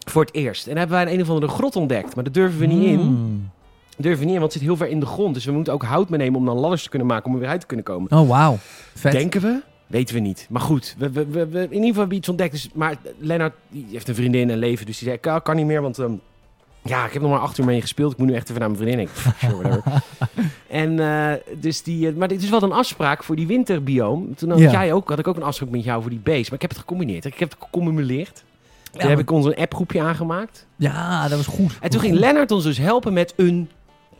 voor het eerst. En daar hebben wij een, een of andere grot ontdekt, maar daar durven we niet in. Hmm. Durven we niet in, want het zit heel ver in de grond. Dus we moeten ook hout meenemen om dan ladders te kunnen maken om er weer uit te kunnen komen. Oh, wauw. Vet. Denken we? Weten we niet. Maar goed, we, we, we, we- in ieder geval hebben we iets ontdekt. Dus, maar Lennart die heeft een vriendin en leven. Dus die zei, kan, kan niet meer, want... ehm, ja, ik heb nog maar acht uur mee gespeeld. Ik moet nu echt even naar mijn vriendin. Ik, pff, sure, whatever. en eh, dus die... eh, maar dit is wel een afspraak voor die winterbioom. Toen had Ja. jij ook, had ik ook een afspraak met jou voor die beest. Maar ik heb het gecombineerd. Ik heb het gecumuleerd. Toen Ja, heb maar- ik ons een appgroepje aangemaakt. Ja, dat was goed. En toen ging Lennart ons dus helpen met een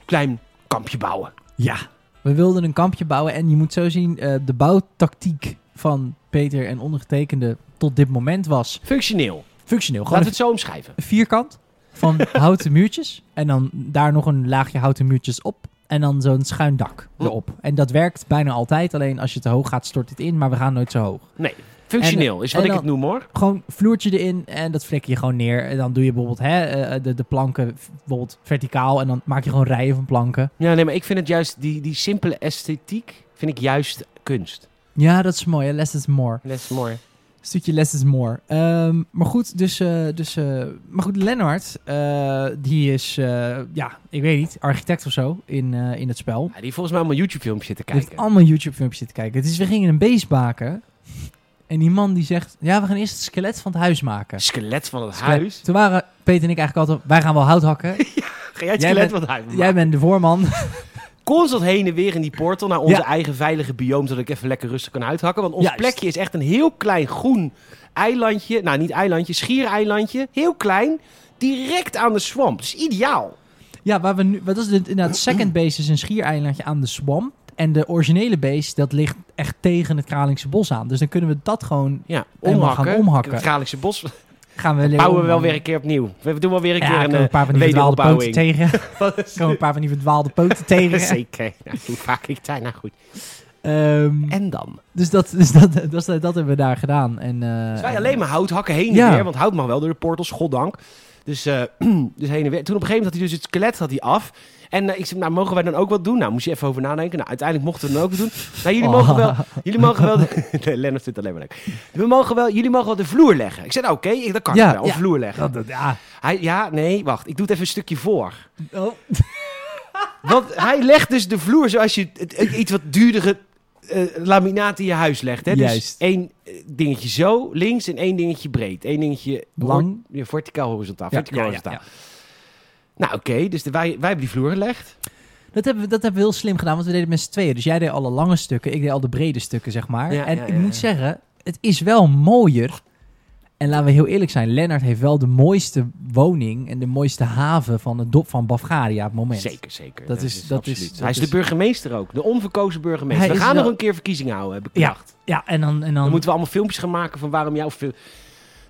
klein kampje bouwen. Ja. We wilden een kampje bouwen en je moet zo zien, eh, de bouwtactiek van Peter en ondergetekende tot dit moment was Functioneel. functioneel. Gewoon Laten we het zo omschrijven. een vierkant van houten muurtjes en dan daar nog een laagje houten muurtjes op en dan zo'n schuin dak erop. En dat werkt bijna altijd, alleen als je te hoog gaat stort het in, maar we gaan nooit zo hoog. Nee, functioneel is wat en ik dan- het noem hoor. Gewoon vloertje erin en dat flikker je gewoon neer. En dan doe je bijvoorbeeld hè, eh, de, de planken v- bijvoorbeeld verticaal en dan maak je gewoon rijen van planken. Ja, nee, maar ik vind het juist, die, die simpele esthetiek vind ik juist kunst. Ja, dat is mooi. hè. Less is more. That's mooi. Stukje less is more. Ehm, maar goed, dus, eh, dus eh, maar goed, Lennart, eh, die is, eh, ja, ik weet niet, architect of zo in, eh, in het spel. Ja, die volgens mij allemaal YouTube-filmpjes zitten Die kijken. heeft allemaal YouTube-filmpjes zitten kijken. Dus we gingen een beest maken. En die man die zegt, ja, we gaan eerst het skelet van het huis maken. Skelet van het Skelet- huis. Toen waren Peter en ik eigenlijk altijd, wij gaan wel hout hakken. Ga jij het Jij skelet bent- van het huis maken? Jij bent de voorman. Constant heen en weer in die portal naar onze Ja. eigen veilige biome, zodat ik even lekker rustig kan uithakken. Want ons Juist. plekje is echt een heel klein groen eilandje. Nou, niet eilandje, schiereilandje. Heel klein, direct aan de swamp. Dus ideaal. Ja, waar we nu, wat is dit? Inderdaad, second base is een schiereilandje aan de swamp. En de originele base, dat ligt echt tegen het Kralingse bos aan. Dus dan kunnen we dat gewoon, Ja, Helemaal omhakken. gaan omhakken. Het Kralingse bos gaan we... bouwen we wel weer een keer opnieuw. We doen wel weer een Ja, keer komen een, we een paar van die eh, verdwaalde poten wederopbouwing. tegen. Er komen een paar van die verdwaalde poten tegen. Zeker. Nou, hoe vaak ik daar nou goed. Ehm, En dan? dus dat, dus dat, dat, dat, dat hebben we daar gedaan. En, eh, Dus wij alleen maar hout hakken heen en Ja. weer. Want hout mag wel door de portals, goddank. Dus, eh, dus heen en weer. Toen op een gegeven moment had hij dus het skelet had hij af. En eh, ik zei, nou, mogen wij dan ook wat doen? Nou, moest je even over nadenken. Nou, uiteindelijk mochten we dan ook wat doen. Nou, jullie mogen Oh. wel... Jullie mogen wel... de- nee, Lennart vindt het alleen maar leuk. We mogen wel... Jullie mogen wel de vloer leggen. Ik zei, nou, oké, ik- dat kan Ja, ik wel. ja. Vloer leggen. Dat, dat- ja. Hij, ja, nee, wacht. Ik doe het even een stukje voor. Oh. Want hij legt dus de vloer zoals je het- het- iets wat duurdere eh, laminaat in je huis legt. Hè? Dus Juist. één eh, dingetje zo links en één dingetje breed. Eén dingetje Lang. hor- ja, verticaal horizontaal. Ja, verticaal ja, ja, horizontaal. Nou oké, dus de- wij, wij hebben die vloer gelegd. Dat hebben, we, dat hebben we heel slim gedaan, want we deden het met z'n tweeën. Dus jij deed alle lange stukken, ik deed al de brede stukken, zeg maar. Ja, en ja, ik ja, moet ja. zeggen, het is wel mooier. En laten we heel eerlijk zijn, Lennart heeft wel de mooiste woning en de mooiste haven van, het dop van Bafgaria op het moment. Zeker, zeker. Dat is- dat is- absoluut. dat Hij is de is- burgemeester ook. De onverkozen burgemeester. Hij we is gaan wel- nog een keer verkiezingen houden, heb ik Ja, bedacht. Ja, en dan, en dan, Dan moeten we allemaal filmpjes gaan maken van waarom jouw... fil-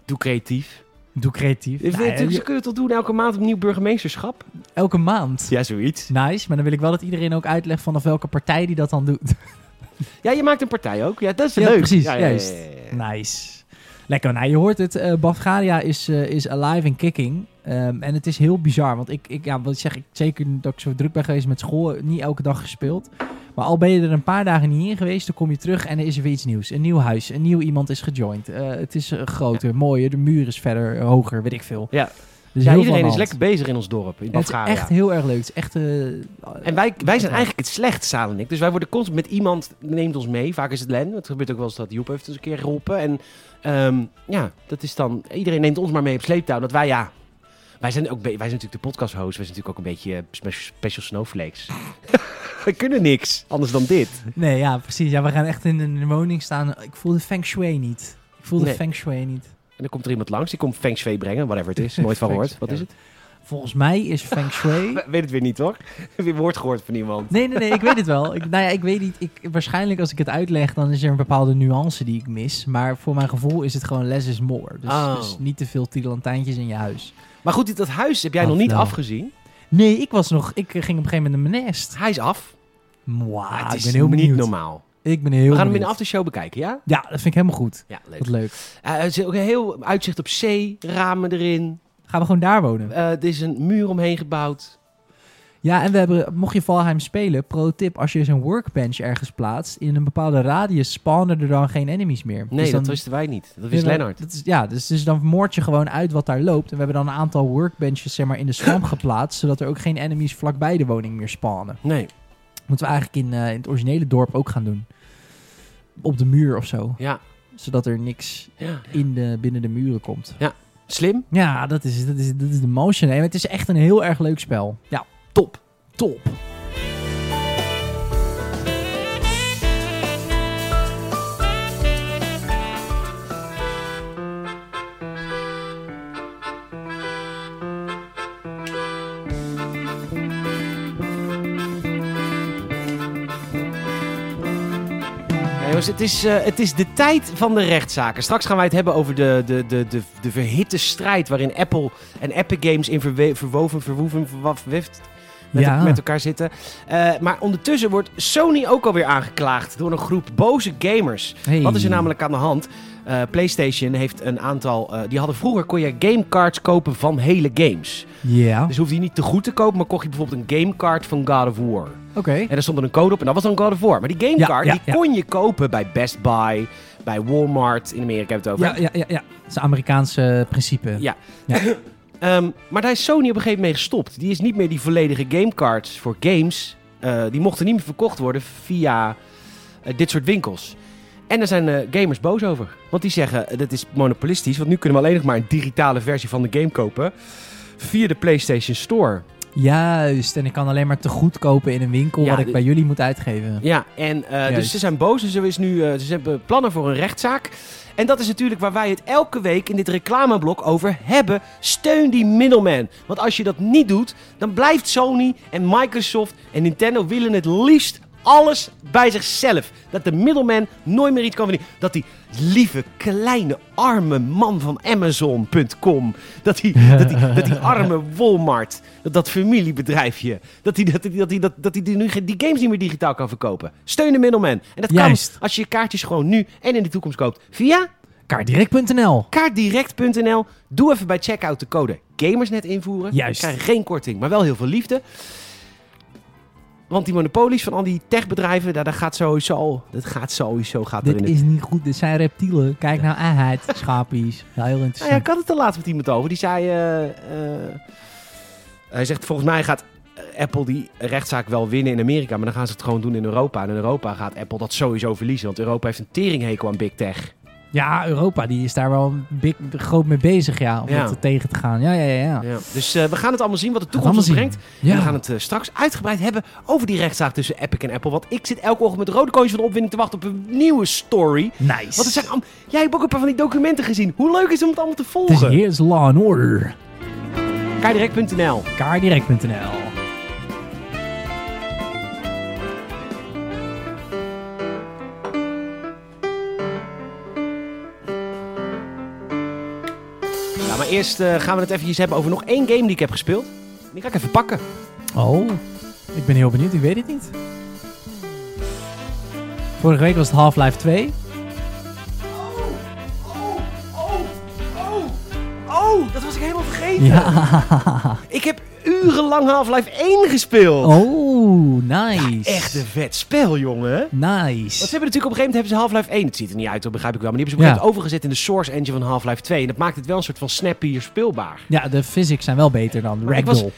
Doe creatief. doe creatief. Ze Nou ja, kunnen je- het toch doen elke maand opnieuw burgemeesterschap? elke maand. Ja, zoiets. Nice, maar dan wil ik wel dat iedereen ook uitlegt vanaf welke partij die dat dan doet. Ja, je maakt een partij ook. Ja, dat is Ja, leuk. precies, Ja, juist. Nice. Lekker. Nou, je hoort het. eh Bafgaria is, eh, is alive and kicking. Ehm, en het is heel bizar. Want ik, ik ja, wat zeg ik zeker dat ik zo druk ben geweest met school. Niet elke dag gespeeld. Maar al ben je er een paar dagen niet in geweest, dan kom je terug en er is er weer iets nieuws. Een nieuw huis, een nieuw iemand is gejoind. Eh, het is eh, groter, mooier. De muur is verder, eh, hoger, weet ik veel. Ja. Dus Ja, heel iedereen veel is aan de lekker hand. bezig in ons dorp, in En Het is Bulgaria. echt heel erg leuk. Het is echt... eh, En wij, wij zijn eigenlijk het slecht, Salenik. Dus wij worden constant met iemand, neemt ons mee. Vaak is het Len. Het gebeurt ook wel eens dat Joep heeft ons een keer geholpen. En ehm, ja, dat is dan... Iedereen neemt ons maar mee op sleeptouw. Dat wij, ja... Wij zijn, ook, be- wij zijn natuurlijk de podcast-host. Wij zijn natuurlijk ook een beetje eh, spe- special snowflakes. We kunnen niks anders dan dit. Nee, ja, precies. Ja, we gaan echt in een woning staan. Ik voel de feng shui niet. Ik voel de Nee. feng shui niet. En dan komt er iemand langs. Die komt Feng Shui brengen, whatever het is. Nooit van Feng gehoord. Wat shui. is het? Volgens mij is Feng Shui... We- Weet het weer niet hoor. Weer woord gehoord van iemand. Nee, nee, nee, ik weet het wel. Ik, nou ja, ik weet niet. Ik, waarschijnlijk als ik het uitleg, dan is er een bepaalde nuance die ik mis. Maar voor mijn gevoel is het gewoon less is more. Dus, Oh. dus niet te veel tirelantijntjes in je huis. Maar goed, dit- dat huis heb jij Ah, nog niet flauw. afgezien. Nee, ik was nog... Ik eh, ging op een gegeven moment naar mijn nest. Hij is af. Mwah, Maar Ah, het is ik ben Ah, heel niet benieuwd. normaal. Ik ben heel We gaan hem in benieuwd. de aftershow bekijken, ja? Ja, dat vind ik helemaal goed. Ja, leuk. Wat leuk. Eh, er is ook een heel uitzicht op zee, ramen erin. Gaan we gewoon daar wonen. Eh, er is een muur omheen gebouwd. Ja, en we hebben, mocht je Valheim spelen, pro tip, als je eens een workbench ergens plaatst, in een bepaalde radius spawnen er dan geen enemies meer. Nee, Dus dan- dat wisten wij niet. Dat Ja, wist dan- Lennart. Dat is, ja, dus, dus dan moord je gewoon uit wat daar loopt. En we hebben dan een aantal workbenches zeg maar, in de swamp geplaatst, zodat er ook geen enemies vlakbij de woning meer spawnen. Nee. Moeten we eigenlijk in, eh, in het originele dorp ook gaan doen. Op de muur of zo. Ja. Zodat er niks ja. in de, binnen de muren komt. Slim. Ja, dat is, dat is, dat is de motion. hè. Het is echt een heel erg leuk spel. Ja, Top. top. Ja, jongens, het, is, eh, het is de tijd van de rechtszaken. Straks gaan wij het hebben over de, de, de, de, de verhitte strijd waarin Apple en Epic Games in verwe- verwoven, verwoeven, verwaft, met, ja. met elkaar zitten. Eh, maar ondertussen wordt Sony ook alweer aangeklaagd door een groep boze gamers. Hey. Wat is er namelijk aan de hand? Eh, PlayStation heeft een aantal. eh, die hadden vroeger kon je gamecards kopen van hele games. Ja, Dus hoefde je niet te goed te kopen, maar kocht je bijvoorbeeld een gamecard van God of War. oké. En daar stond er een code op en dat was dan God of War. Maar die gamecard Ja, ja, die ja. kon je kopen bij Best Buy, bij Walmart. In Amerika hebben we het over. Ja, ja, ja, ja. Het is een Amerikaanse principe. Ja. Ehm, maar daar is Sony op een gegeven moment mee gestopt. Die is niet meer die volledige gamecards voor games. eh, die mochten niet meer verkocht worden via eh, dit soort winkels. En daar zijn eh, gamers boos over. Want die zeggen, eh, dat is monopolistisch. Want nu kunnen we alleen nog maar een digitale versie van de game kopen. Via de PlayStation Store. Juist, en ik kan alleen maar te goed kopen in een winkel Ja, wat ik dit- bij jullie moet uitgeven. Ja, en eh, dus Juist. ze zijn boos. Dus er is nu, eh, ze hebben plannen voor een rechtszaak. En dat is natuurlijk waar wij het elke week in dit reclameblok over hebben. Steun die middleman. Want als je dat niet doet, dan blijft Sony en Microsoft en Nintendo willen het liefst alles bij zichzelf. Dat de middleman nooit meer iets kan verdienen. Dat die lieve, kleine, arme man van Amazon.com. Dat die, dat die, dat die arme Walmart. Dat, dat familiebedrijfje. Dat die, dat die, dat die, dat, dat die, die nu geen- die games niet meer digitaal kan verkopen. Steun de middleman. En dat kan Juist. als je je kaartjes gewoon nu en in de toekomst koopt. Via Kaardirect.nl. kaartdirect.nl. Doe even bij checkout de code gamersnet invoeren. Juist. Je krijgt geen korting, maar wel heel veel liefde. Want die monopolies van al die techbedrijven, daar, daar gaat sowieso, dat gaat sowieso, gaat Dit erin. is niet goed, dit zijn reptielen. Kijk nou aan het, schapies. Ja, heel Nou ja, interessant. ik had het er laatst met iemand over. Die zei, eh, eh, hij zegt volgens mij gaat eh, Apple die rechtszaak wel winnen in Amerika, maar dan gaan ze het gewoon doen in Europa. En in Europa gaat Apple dat sowieso verliezen, want Europa heeft een teringhekel aan big tech. Ja, Europa die is daar wel big, groot mee bezig ja, om Ja. dat tegen te gaan. Ja, ja, ja. ja. Ja. Dus eh, we gaan het allemaal zien wat de Gaan we toekomst allemaal ons zien. brengt. En Ja. we gaan het eh, straks uitgebreid hebben over die rechtszaak tussen Epic en Apple. Want ik zit elke ochtend met rode koontjes van de opwinding te wachten op een nieuwe story. Nice. Want er zijn allemaal- Jij hebt ook een paar van die documenten gezien. Hoe leuk is het om het allemaal te het is volgen? Here's Law and Order. Kijdirect.nl Kaardirect.nl. Nou, maar eerst eh, gaan we het eventjes hebben over nog één game die ik heb gespeeld. Die ga ik even pakken. Oh, ik ben heel benieuwd, ik weet het niet. Vorige week was het Half-Life 2. Oh, dat was ik helemaal vergeten. Ja. Ik heb urenlang Half-Life 1 gespeeld. Oh, nice. Echt een vet spel, jongen. Nice. Want ze hebben natuurlijk op een gegeven moment hebben ze Half-Life 1. Het ziet er niet uit, dat begrijp ik wel. Maar die hebben ze op een Ja. gegeven moment overgezet in de source engine van Half-Life 2. En dat maakt het wel een soort van snappier speelbaar. Ja, de physics zijn wel beter dan Maar ik Ragdoll.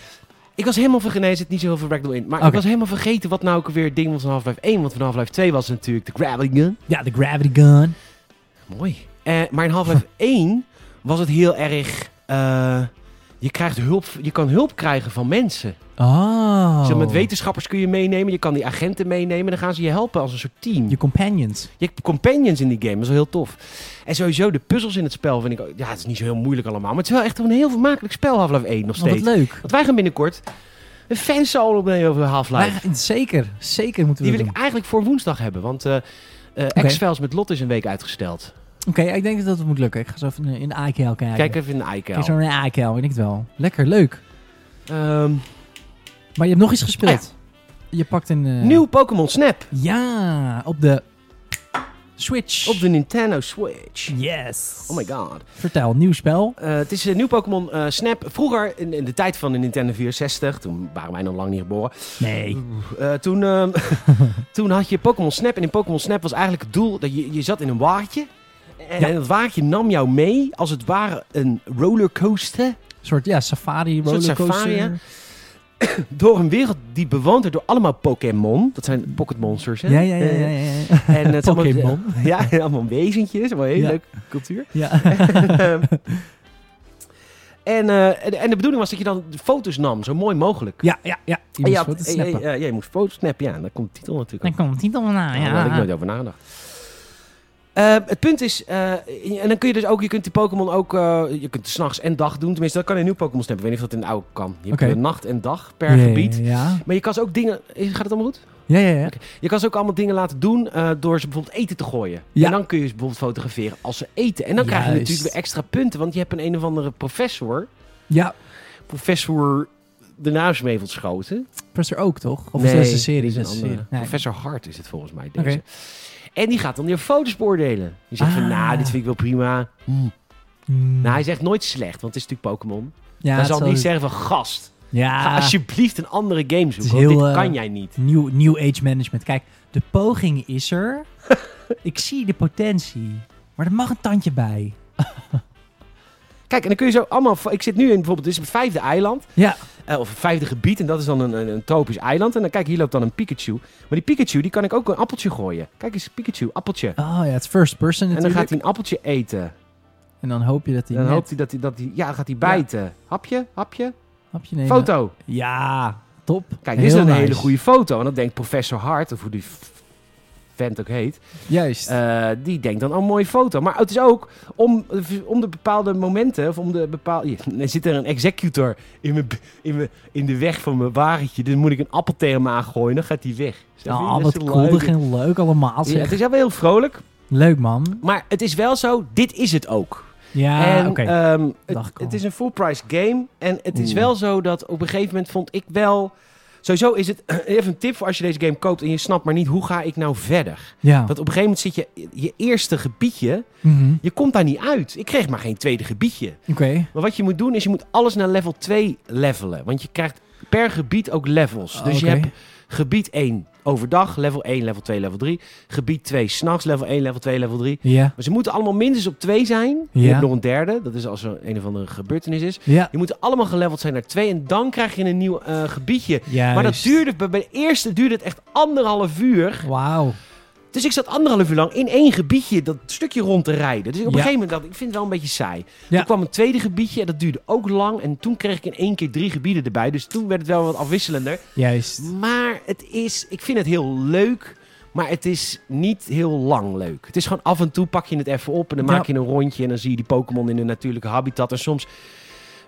Ik was helemaal vergeten, nee, er zit niet zoveel Ragdoll in. Maar ik Oké. was helemaal vergeten wat nou ook weer het ding was van Half-Life 1. Want van Half-Life 2 was natuurlijk de gravity gun. Ja, de gravity gun. Mooi. Eh, maar in Half-Life 1 was het heel erg... eh, Je, krijgt hulp, je kan hulp krijgen van mensen. Oh. Zo, met wetenschappers kun je meenemen, je kan die agenten meenemen. Dan gaan ze je helpen als een soort team. Je companions. Je hebt companions in die game, dat is wel heel tof. En sowieso de puzzels in het spel vind ik... ook- Ja, het is niet zo heel moeilijk allemaal. Maar het is wel echt een heel vermakelijk spel, Half-Life 1 Oh, nog steeds. wat leuk. Want wij gaan binnenkort een fansoul opnemen over Half-Life. Maar, zeker, zeker moeten we Die wil doen. ik eigenlijk voor woensdag hebben. Want eh eh, Oké. X-Files met Lot is een week uitgesteld. Oké, ik denk dat het moet lukken. Ik ga zo even in de IKL kijken. Kijk even in de iCal. Kijk zo naar de IKL, ik denk het wel. Lekker, leuk. Ehm, Maar je hebt nog iets gespeeld. Je pakt een... eh, Ah, Nieuw Pokémon Snap Ja, op de Switch. op de Nintendo Switch. Yes. Oh my god. Vertel, nieuw spel. Eh, het is een nieuw Pokémon eh, Snap. Vroeger, in, in de tijd van de Nintendo 64, toen waren wij nog lang niet geboren. Nee. Eh, toen, ehm, toen had je Pokémon Snap. En in Pokémon Snap was eigenlijk het doel dat je, je zat in een waardje. En, Ja. en dat waardje nam jou mee als het ware een rollercoaster. Een soort ja, safari, soort rollercoaster. safari, hè? Door een wereld die bewoond wordt door allemaal Pokémon. Dat zijn Pocket Monsters. Hè? ja, ja, ja, ja. ja. Eh, en het zijn allemaal- Pokémon. Ja, allemaal wezentjes. Allemaal hele Ja. leuke cultuur. ja. Ehm, en, eh, en, en de bedoeling was dat je dan foto's nam, zo mooi mogelijk. ja, ja, ja. Je En moest had- foto's eh, snappen. eh, Oh, ja, je moest foto's snappen. Ja, en daar komt de titel natuurlijk Dan komt het niet allemaal na, Ja, Daar had ik ja. nooit over nagedacht. Eh, het punt is, eh, en dan kun je dus ook, je kunt die Pokémon ook, eh, je kunt s'nachts en dag doen. Tenminste, dat kan in nieuw Pokémon snappen. Ik weet niet of dat in de oude kan. Je hebt Oké. eh, nacht en dag per Ja, gebied. Ja, Maar je kan ze ook dingen, is- gaat het allemaal goed? ja, ja. ja. Je kan ze ook allemaal dingen laten doen eh, door ze bijvoorbeeld eten te gooien. Ja. En dan kun je ze bijvoorbeeld fotograferen als ze eten. En dan krijg je Juist. natuurlijk weer extra punten, want je hebt een een of andere professor, Ja, professor de naam is me even ontschoten. Professor ook, toch? Of Nee, is dat een serie? is een Dat is een andere. serie. Nee. Professor Hart is het volgens mij, deze. Oké. En die gaat dan weer foto's beoordelen. Die zegt van, Ah. nou, dit vind ik wel prima. Hmm. Nou, hij zegt nooit slecht, want het is natuurlijk Pokémon. ja, hij het zal zal- niet zeggen Ah, van, gast, ga Ja, alsjeblieft een andere game is zoeken, want heel, dit eh, kan jij niet. Nieuw, new age management. Kijk, de poging is er. ik zie de potentie. Maar er mag een tandje bij. Kijk, en dan kun je zo allemaal... fo- Ik zit nu in bijvoorbeeld, dit is het vijfde eiland, Ja, eh, of het vijfde gebied, en dat is dan een, een, een tropisch eiland. En dan kijk, hier loopt dan een Pikachu. Maar die Pikachu, die kan ik ook een appeltje gooien. Kijk eens, Pikachu, appeltje. oh ja, het is first person en dan natuurlijk. gaat hij een appeltje eten. En dan hoop je dat hij dan net hoopt hij dat hij, dat hij... Ja, dan gaat hij bijten. Hapje, hapje, hapje neemt. foto. Ja, top. Kijk, Heel dit is een nice. hele goede foto. En dan denkt professor Hart, of hoe die f- vent ook heet, Juist. eh, die denkt dan, oh, mooie foto. Maar het is ook om, om de bepaalde momenten, of om de bepaalde... Er zit er een executor in, mijn, b- in, mijn, in de weg van mijn wagentje. Dan moet ik een appel tegen me aangooien, dan gaat die weg. Snap je? oh, Dat wat is cool. leuk. En leuk allemaal. Ja, zeg. het is wel heel vrolijk, Leuk, man. maar het is wel zo, dit is het ook. Ja, en Ah, oké. ehm, het, Dacht ik al. het is een full price game. En het is Oeh. wel zo dat op een gegeven moment vond ik wel. Sowieso is het even een tip voor als je deze game koopt en je snapt maar niet hoe ga ik nou verder. ja. Want op een gegeven moment zit je je eerste gebiedje, Mhm. je komt daar niet uit. Ik kreeg maar geen tweede gebiedje. Oké. Maar wat je moet doen is je moet alles naar level 2 levelen. Want je krijgt per gebied ook levels. Dus je Ah, Oké. hebt gebied 1 overdag, level 1, level 2, level 3. Gebied 2 s'nachts, level 1, level 2, level 3. Ja. Maar ze moeten allemaal minstens op twee zijn. Je Ja. hebt nog een derde. Dat is als er een of andere gebeurtenis is. Ja. Die moeten allemaal geleveld zijn naar twee. En dan krijg je een nieuw eh, gebiedje. Juist. Maar dat duurde, bij bij de eerste duurde het echt anderhalf uur. Wauw. Dus ik zat anderhalf uur lang in één gebiedje dat stukje rond te rijden. Dus op een Ja. gegeven moment dacht ik, ik vind het wel een beetje saai. Ja. Toen kwam een tweede gebiedje en dat duurde ook lang. En toen kreeg ik in één keer drie gebieden erbij. Dus toen werd het wel wat afwisselender. Juist. Maar het is, ik vind het heel leuk, maar het is niet heel lang leuk. Het is gewoon af en toe pak je het even op en dan Ja. maak je een rondje en dan zie je die Pokémon in hun natuurlijke habitat. En soms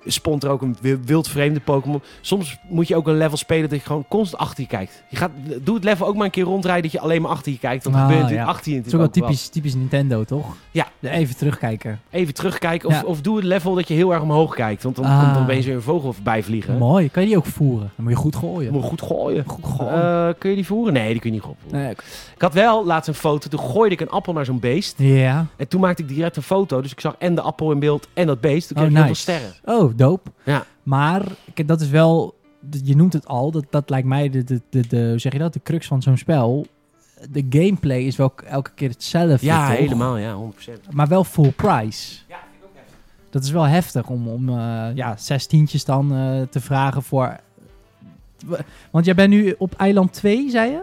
spont er ook een wi- wildvreemde Pokémon. Soms moet je ook een level spelen dat je gewoon constant achter je kijkt. Je gaat, doe het level ook maar een keer rondrijden dat je alleen maar achter je kijkt. Want Ah, dan ben je natuurlijk ja. achter je Het is ook natuurlijk wel ook wel. typisch, typisch Nintendo, toch? Ja. Even terugkijken. Even terugkijken of, Ja. of doe het level dat je heel erg omhoog kijkt. Want dan Ah. komt dan opeens weer een vogel voorbij vliegen. Mooi. Kan je die ook voeren? Dan moet je goed gooien. Moet goed gooien. Goed gooien. Eh, kun je die voeren? Nee, die kun je niet gooien. Nee, oké. Ik had wel laatst een foto, toen gooide ik een appel naar zo'n beest. Ja. En toen maakte ik direct een foto, dus ik zag en de appel in beeld en dat beest. Toen kreeg Oh, ik heel nice. veel sterren. Oh, dope. Ja. Maar kijk, dat is wel... Je noemt het al. Dat, dat lijkt mij de, de, de, de... Hoe zeg je dat? De crux van zo'n spel. De gameplay is wel k- elke keer hetzelfde, Ja, toch? helemaal, ja, 100%. Maar wel full price. Ja, dat is wel heftig om, om eh, ja, zes tientjes dan eh, te vragen voor... Want jij bent nu op eiland 2, zei je?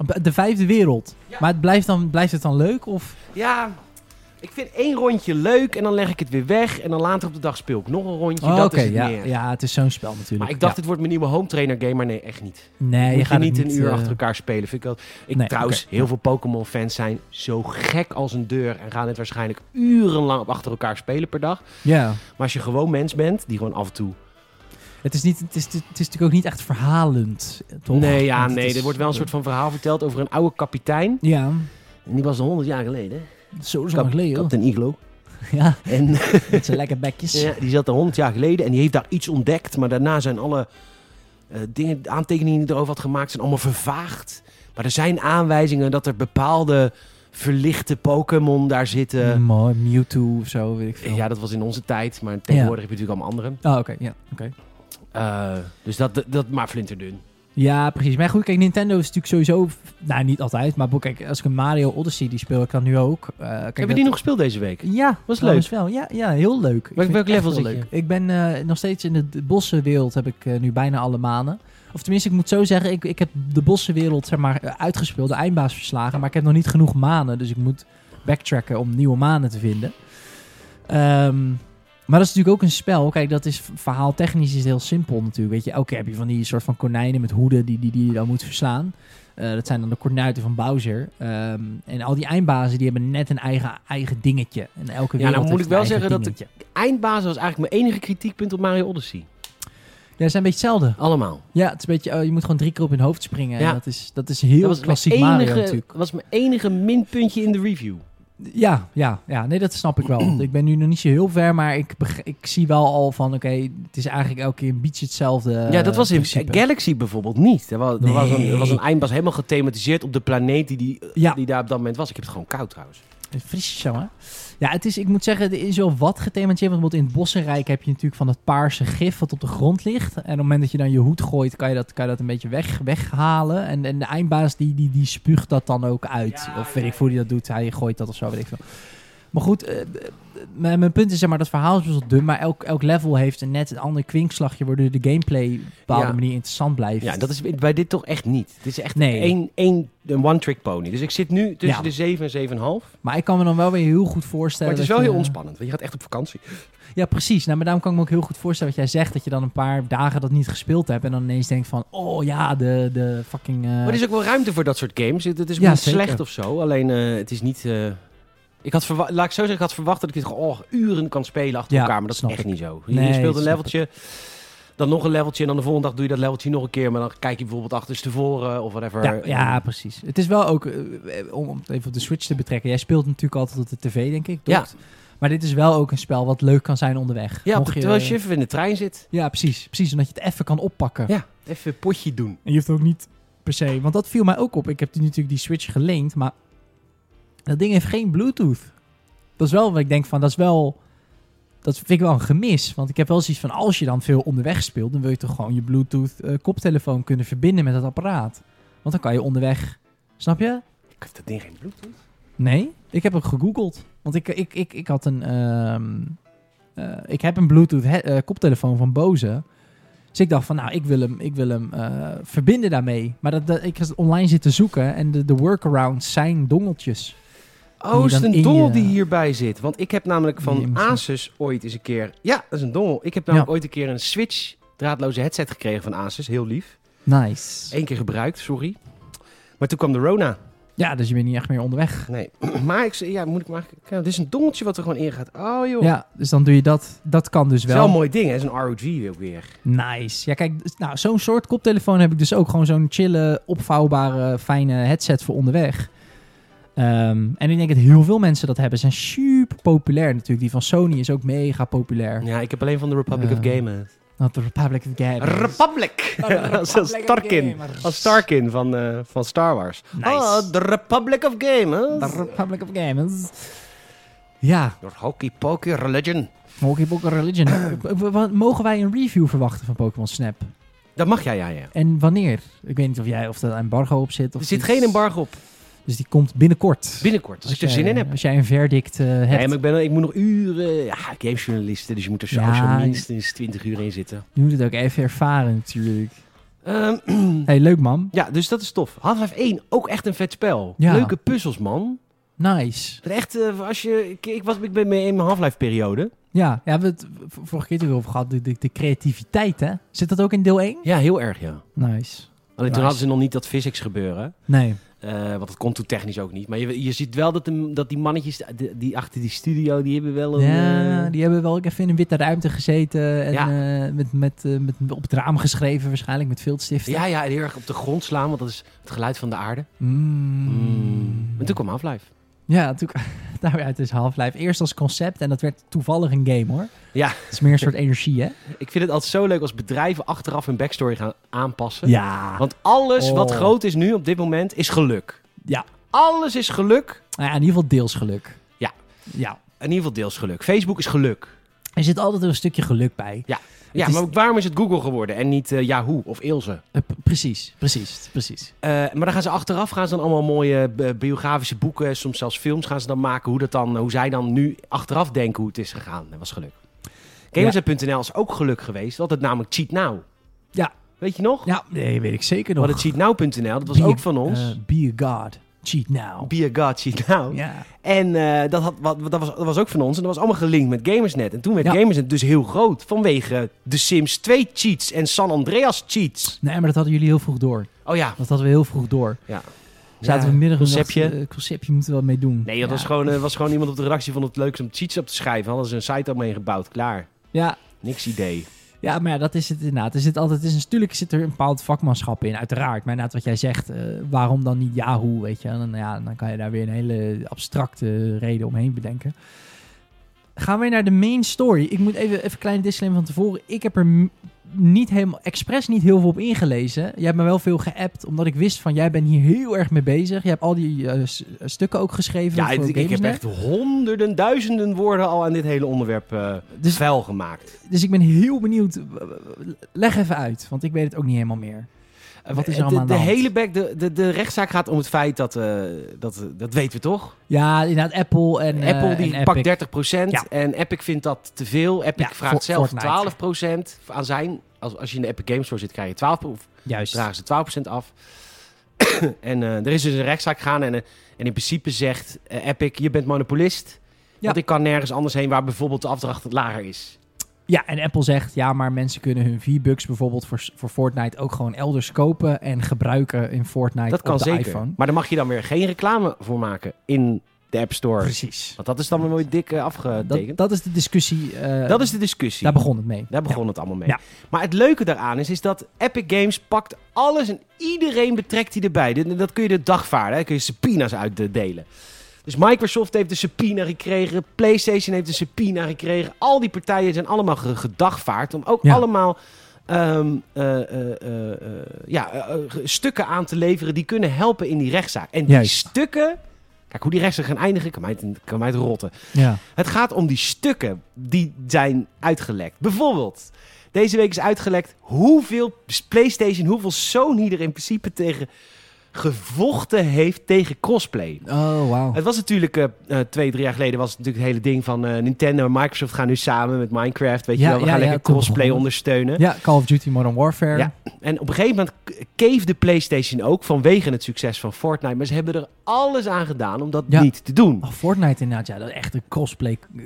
Op De vijfde wereld. Maar het blijft, dan, blijft het dan leuk? Of... Ja, Ik vind één rondje leuk en dan leg ik het weer weg. En dan later op de dag speel ik nog een rondje. Oh, dat Oké, is het ja, meer. ja, het is zo'n spel natuurlijk. Maar ik dacht, Ja. dit wordt mijn nieuwe home trainer game. Maar nee, echt niet. nee, Moet je je, gaat het niet een uur eh, achter elkaar spelen. Vind ik, dat... ik nee, trouwens, oké. heel veel Pokémon-fans zijn zo gek als een deur. En gaan het waarschijnlijk urenlang op achter elkaar spelen per dag. Ja, Maar als je gewoon mens bent, die gewoon af en toe... het is, niet, het, is, het is natuurlijk ook niet echt verhalend. Toch? nee, ja, Want het nee. is- Er wordt wel een soort van verhaal verteld over een oude kapitein. Ja, En die was 100 jaar geleden. zo Kap- lang geleden. hoor. Kapitein Iglo. Ja, En met zijn lekker bekjes. Ja, die zat er 100 jaar geleden en die heeft daar iets ontdekt. Maar daarna zijn alle eh, dingen, de aantekeningen die hij erover had gemaakt, zijn allemaal vervaagd. Maar er zijn aanwijzingen dat er bepaalde verlichte Pokémon daar zitten. Mm, Mooi, Mewtwo of zo, weet ik veel. Ja, dat was in onze tijd, maar tegenwoordig heb je natuurlijk allemaal andere. Oh, oké, ja, oké. Eh, dus dat, dat, dat- maar flinterdun. Ja, precies. Maar goed, kijk, Nintendo is natuurlijk sowieso... Nou, niet altijd, maar kijk, als ik een Mario Odyssey, die speel ik dan nu ook. Eh, kijk, Heb je die nog gespeeld deze week? dat- Ja, Was trouwens wel. Ja, ja, heel leuk. Ik welk vind het echt level heel zit je? Ik ben eh, nog steeds in de, de bossenwereld, heb ik eh, nu bijna alle manen. Of tenminste, ik moet zo zeggen, ik, ik heb de bossenwereld zeg maar, eh, uitgespeeld, de eindbaas verslagen. Maar ik heb nog niet genoeg manen, dus ik moet backtracken om nieuwe manen te vinden. Ehm, maar dat is natuurlijk ook een spel. Kijk, dat is verhaaltechnisch is het heel simpel natuurlijk. Weet je, elke keer heb je van die soort van konijnen met hoeden die, die, die je dan moet verslaan. Eh, dat zijn dan de kornuiten van Bowser. Ehm, en al die eindbazen die hebben net een eigen, eigen dingetje. En elke Ja, nou wereld moet heeft ik wel een eigen zeggen dat de- dingetje. Eindbaas was eigenlijk mijn enige kritiekpunt op Mario Odyssey. Ja, ze zijn een beetje hetzelfde. Allemaal. Ja, het is een beetje, oh, je moet gewoon drie keer op hun hoofd springen. Ja. En dat, is, dat is heel dat was klassiek mijn enige, Mario natuurlijk. was mijn enige minpuntje in de review. Ja, ja, ja, nee, dat snap ik wel. ik ben nu nog niet zo heel ver, maar ik, beg- ik zie wel al van, oké, het is eigenlijk elke keer een beetje hetzelfde. eh, Ja, dat was in principe. Eh, Galaxy bijvoorbeeld niet. Er was, er was, een, er was een Nee. eindbaas helemaal gethematiseerd op de planeet die, die, Ja. die daar op dat moment was. Ik heb het gewoon koud trouwens. Het Fris zo, hè? Ja, het is, ik moet zeggen, er is wel wat gethematiseerd. Want bijvoorbeeld in het Bossenrijk heb je natuurlijk van dat paarse gif wat op de grond ligt. En op het moment dat je dan je hoed gooit, kan je dat, kan je dat een beetje weg, weghalen. En, en de eindbaas die, die, die spuugt dat dan ook uit. of weet ik veel hoe die dat doet. Hij gooit dat of zo, weet ik veel. Maar goed, eh, eh, mijn mijn punt is zeg maar, dat verhaal is best wel dun. Maar elk, elk level heeft een net een ander kwinkslagje, waardoor de gameplay op een bepaalde Ja. manier interessant blijft. Ja, dat is bij dit toch echt niet. Het is echt Nee. één, één, een one-trick pony. Dus ik zit nu tussen Ja. de 7 en 7,5. Maar Maar ik kan me dan wel weer heel goed voorstellen. het is wel dat eh, je- heel ontspannend, want je gaat echt op vakantie. Ja, precies. Nou, maar daarom kan ik me ook heel goed voorstellen wat jij zegt. Dat je dan een paar dagen dat niet gespeeld hebt. En dan ineens denkt van, oh ja, de, de fucking... eh, Maar er is ook wel ruimte voor dat soort games. Het het is ook Ja, niet zeker. slecht of zo. Alleen eh, het is niet... eh, ik had verwa- Laat ik zo zeggen, ik had verwacht dat ik dit gewoon oh, uren kan spelen achter Ja, elkaar. Maar dat snap is echt ik. niet zo. Nee, je speelt een dat snap leveltje, dan nog een leveltje. En dan de volgende dag doe je dat leveltje nog een keer. Maar dan kijk je bijvoorbeeld achterstevoren of whatever. ja, En- ja, precies. Het is wel ook, eh, om om het even op de Switch te betrekken. Jij speelt natuurlijk altijd op de tv, denk ik. toch? Ja. Maar dit is wel ook een spel wat leuk kan zijn onderweg. Ja, Mocht terwijl je even in de trein zit. Ja, precies. Precies, omdat je het even kan oppakken. Ja, even een potje doen. En je hoeft ook niet per se... Want dat viel mij ook op. Ik heb die- natuurlijk die Switch geleend, maar... Dat ding heeft geen Bluetooth. Dat is wel wat ik denk van, dat is wel... Dat vind ik wel een gemis. Want ik heb wel zoiets van, als je dan veel onderweg speelt... dan wil je toch gewoon je Bluetooth eh, koptelefoon kunnen verbinden met dat apparaat. Want dan kan je onderweg... Snap je? Ik heb dat ding geen Bluetooth. Nee, ik heb ook gegoogeld. Want ik, ik, ik, ik had een... ehm, eh, ik heb een Bluetooth he- eh, koptelefoon van Bose. Dus ik dacht van, nou, ik wil hem, ik wil hem eh, verbinden daarmee. Maar dat, dat, ik heb online zitten zoeken en de, de workarounds zijn dongeltjes. Oh, je is het dan een in dongel je- die hierbij zit? Want ik heb namelijk Die je van moet- Asus ooit eens een keer... Ja, dat is een dongel. Ik heb namelijk ooit een keer een Switch draadloze headset gekregen van Asus. Heel lief. Nice. Eén keer gebruikt, sorry. Maar toen kwam de Rona. Ja, dus je bent niet echt meer onderweg. Nee. Maar ik zei, ja, moet ik maar... Ja, dit is een dongeltje wat er gewoon in gaat. Oh, joh. Ja, dus dan doe je dat. Dat kan dus Het is wel wel. een mooi ding, hè? Het is een ROG ook weer. Nice. Ja, kijk, dus- nou, zo'n soort koptelefoon heb ik dus ook. Gewoon zo'n chille, opvouwbare, fijne headset voor onderweg. Ehm, en ik denk dat heel veel mensen dat hebben. Ze zijn super populair natuurlijk. Die van Sony is ook mega populair. Ja, ik heb alleen van de Republic of Ja. Game. Want de Republic of Games. Republic! Als Starkin. Als Starkin van, eh, van Star Wars. Nice. Oh, de Republic of Game. De Republic of Games. Ja, Door Hokey Pokey Religion. Monkey Book Religion. W- w- Mogen wij een review verwachten van Pokémon Snap? Dat mag jij, ja, ja. En wanneer? Ik weet niet of jij of er embargo op zit. Of Er zit iets. geen embargo op. Dus die komt binnenkort. Binnenkort, als ik er jij- zin in heb. Als jij een verdict eh, hebt. Nee, maar ik, ben, ik moet nog uren... Ja, gamejournalisten, dus je moet er sowieso Ja, je- minstens 20 uur in zitten. Je moet het ook even ervaren natuurlijk. Ehm, hey, leuk man. ja, dus dat is tof. Half-Life 1, ook echt een vet spel. Ja. Leuke puzzels, man. Nice. Echt, eh, als je, ik, ik was, ik ben mee in mijn Half-Life periode. Ja, ja, we hebben het v- vorige keer natuurlijk over gehad. De, de, de creativiteit, hè? Zit dat ook in deel 1? Ja, heel erg ja. Nice. Alleen Nice. toen hadden ze nog niet dat physics gebeuren. Nee. Eh, want dat kon toen technisch ook niet. Maar je, je ziet wel dat, de, dat die mannetjes die, die achter die studio, die hebben wel een... Ja, eh, die hebben wel ook even in een witte ruimte gezeten. En Ja. eh, met, met, eh, met, op het raam geschreven waarschijnlijk, met viltstift. ja, ja, en heel erg op de grond slaan, want dat is het geluid van de aarde. Mm. En toen kwam Half-Life. Ja, toen, nou ja, het is Half-Life. Eerst als concept en dat werd toevallig een game, hoor. Ja. Het is meer een soort energie, hè? Ik vind het altijd zo leuk als bedrijven achteraf hun backstory gaan aanpassen. Ja. Want alles wat Oh. groot is nu op dit moment is geluk. Ja. Alles is geluk. Nou ja, in ieder geval deels geluk. Ja. Ja. In ieder geval deels geluk. Facebook is geluk. Er zit altijd een stukje geluk bij. Ja, is- maar ook waarom is het Google geworden en niet eh, Yahoo of Ilse? Eh, p- precies, precies, precies. Eh, maar dan gaan ze achteraf gaan ze dan allemaal mooie eh, biografische boeken, soms zelfs films gaan ze dan maken. Hoe, dat dan, hoe zij dan nu achteraf denken hoe het is gegaan. Dat was geluk. Gamersnet.nl is ook geluk geweest. Dat het namelijk Cheat Now. Ja. Weet je nog? Ja, nee, weet ik zeker We nog. hadden cheatnow.nl, dat was Be- ook van ons. eh, be a god. Cheat now. Be a God, Cheat Now. Ja. En eh, dat, had, wat, wat- dat, was, dat was ook van ons. En dat was allemaal gelinkt met Gamersnet. En toen werd Ja. Gamersnet dus heel groot. Vanwege The Sims 2 cheats en San Andreas cheats. Nee, maar dat hadden jullie heel vroeg door. Oh ja. Dat hadden we heel vroeg door. Ja. Zaten Ja, we midden conceptje. eh, conceptje moeten we wel mee doen. Nee, dat ja. was, gewoon, eh, was gewoon iemand op de redactie van het leukste om cheats op te schrijven. Hadden ze een site omheen gebouwd. Klaar. Ja, Niks idee. ja, maar ja, dat is het inderdaad. Er zit altijd, het is, natuurlijk zit er een bepaald vakmanschap in, uiteraard. Maar inderdaad, wat jij zegt, eh, waarom dan niet Yahoo, weet je? En dan, ja, dan kan je daar weer een hele abstracte reden omheen bedenken. Gaan we naar de main story. Ik moet even, even een kleine disclaimer van tevoren. Ik heb er m- niet helemaal, expres niet heel veel op ingelezen. Jij hebt me wel veel geappt, omdat ik wist van, jij bent hier heel erg mee bezig. Je hebt al die eh, s- stukken ook geschreven Ja, voor ik, ik heb Gamersnet. echt honderden, duizenden woorden al aan dit hele onderwerp eh Dus- vuil gemaakt. Dus ik ben heel benieuwd. Leg even uit, want ik weet het ook niet helemaal meer. Wat is er Eh, de, allemaal aan de de, hand? hele back, de, de, de rechtszaak gaat om het feit dat, eh, dat, dat weten we toch? Ja, inderdaad, Apple en eh, Apple die en pakt Epic. 30 Ja. en Epic vindt dat te veel. Epic Ja, vraagt voor- zelf Fortnite. 12 aan zijn. Als, als je in de Epic Games Store zit, krijg je 12 pro- Juist. dragen ze 12 af. en eh, er is dus een rechtszaak gaan en, eh, en in principe zegt eh, Epic, je bent monopolist. Want ik kan nergens anders heen waar bijvoorbeeld de afdracht lager is. Ja, en Apple zegt, ja, maar mensen kunnen hun V-Bucks bijvoorbeeld voor, voor Fortnite ook gewoon elders kopen en gebruiken in Fortnite dat kan op de zeker. iPhone. Maar daar mag je dan weer geen reclame voor maken in de App Store. Precies. Want dat is dan weer mooi dik eh, Dat, afgetekend. Dat, dat is de discussie. eh, is de discussie. Daar begon het mee. Daar begon het allemaal mee. Ja. Maar het leuke daaraan is, is dat Epic Games pakt alles en iedereen betrekt die erbij. Dit- Dat kun je de dagvaarden, daar kun je subpoena's uitdelen. Dus Microsoft heeft een subpoena gekregen, PlayStation heeft een subpoena gekregen. Al die partijen zijn allemaal ge- gedagvaard om ook Ja. allemaal ehm, eh, eh, eh, eh, ja, eh, eh, ge- stukken aan te leveren die kunnen helpen in die rechtszaak. En die Juist. stukken, kijk hoe die rechtszaak gaan eindigen, kan mij het, kan mij het rotten. Ja. Ja. Het gaat om die stukken die zijn uitgelekt. Bijvoorbeeld, deze week is uitgelekt hoeveel PlayStation, hoeveel Sony er in principe tegen gevochten heeft tegen crossplay. Oh, wauw. Het was natuurlijk eh, eh, twee, drie jaar geleden was het natuurlijk het hele ding van eh, Nintendo en Microsoft gaan nu samen met Minecraft. Weet Ja, je wel, we ja, gaan ja, lekker toen crossplay begon. ondersteunen. Ja, Call of Duty Modern Warfare. Ja. En op een gegeven moment k- cavede PlayStation ook vanwege het succes van Fortnite. Maar ze hebben er alles aan gedaan om dat Ja. niet te doen. Oh, Fortnite inderdaad, ja, dat is echt een cosplay eh,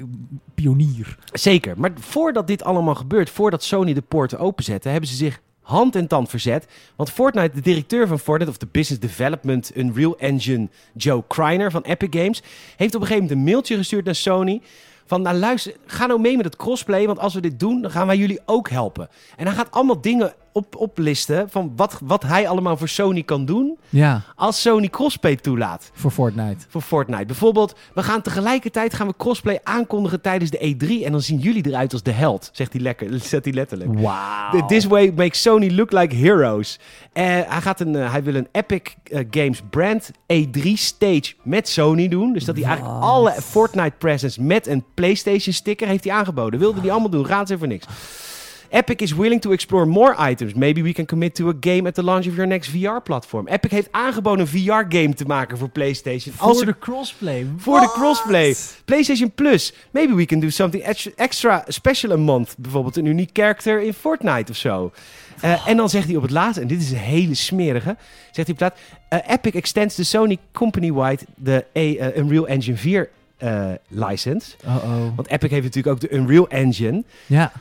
pionier. Zeker. Maar voordat dit allemaal gebeurt, voordat Sony de poorten openzette, hebben ze zich hand en tand verzet. Want Fortnite, de directeur van Fortnite, of de Business Development Unreal Engine, Joe Kreiner van Epic Games, heeft op een gegeven moment een mailtje gestuurd naar Sony. Van nou luister, ga nou mee met het crossplay, want als we dit doen, dan gaan wij jullie ook helpen. En hij gaat allemaal dingen op, oplisten van wat, wat hij allemaal voor Sony kan doen Ja, als Sony crossplay toelaat voor Fortnite. voor Fortnite. Bijvoorbeeld, we gaan tegelijkertijd gaan we crossplay aankondigen tijdens de E3 en dan zien jullie eruit als de held, zegt hij lekker, zegt hij letterlijk. Wauw. This way makes Sony look like heroes. Eh, hij, gaat een, eh, hij wil een Epic eh, Games brand E3 stage met Sony doen. Dus dat hij eigenlijk Wat? alle Fortnite presents met een PlayStation sticker heeft hij aangeboden. Wilde hij allemaal doen, raad ze voor niks. Epic is willing to explore more items. Maybe we can commit to a game at the launch of your next VR-platform. Epic heeft aangeboden een VR-game te maken voor PlayStation. Voor als er- de crossplay. voor de crossplay. PlayStation Plus. Maybe we can do something ex- extra special a month. Bijvoorbeeld een uniek character in Fortnite of zo. Eh, En dan zegt hij op het laatste, en dit is een hele smerige, zegt hij op het laatst, eh, Epic extends the Sony company-wide de A- eh, Unreal Engine 4 eh, license. Oh oh. Want Epic heeft natuurlijk ook de Unreal Engine. Ja.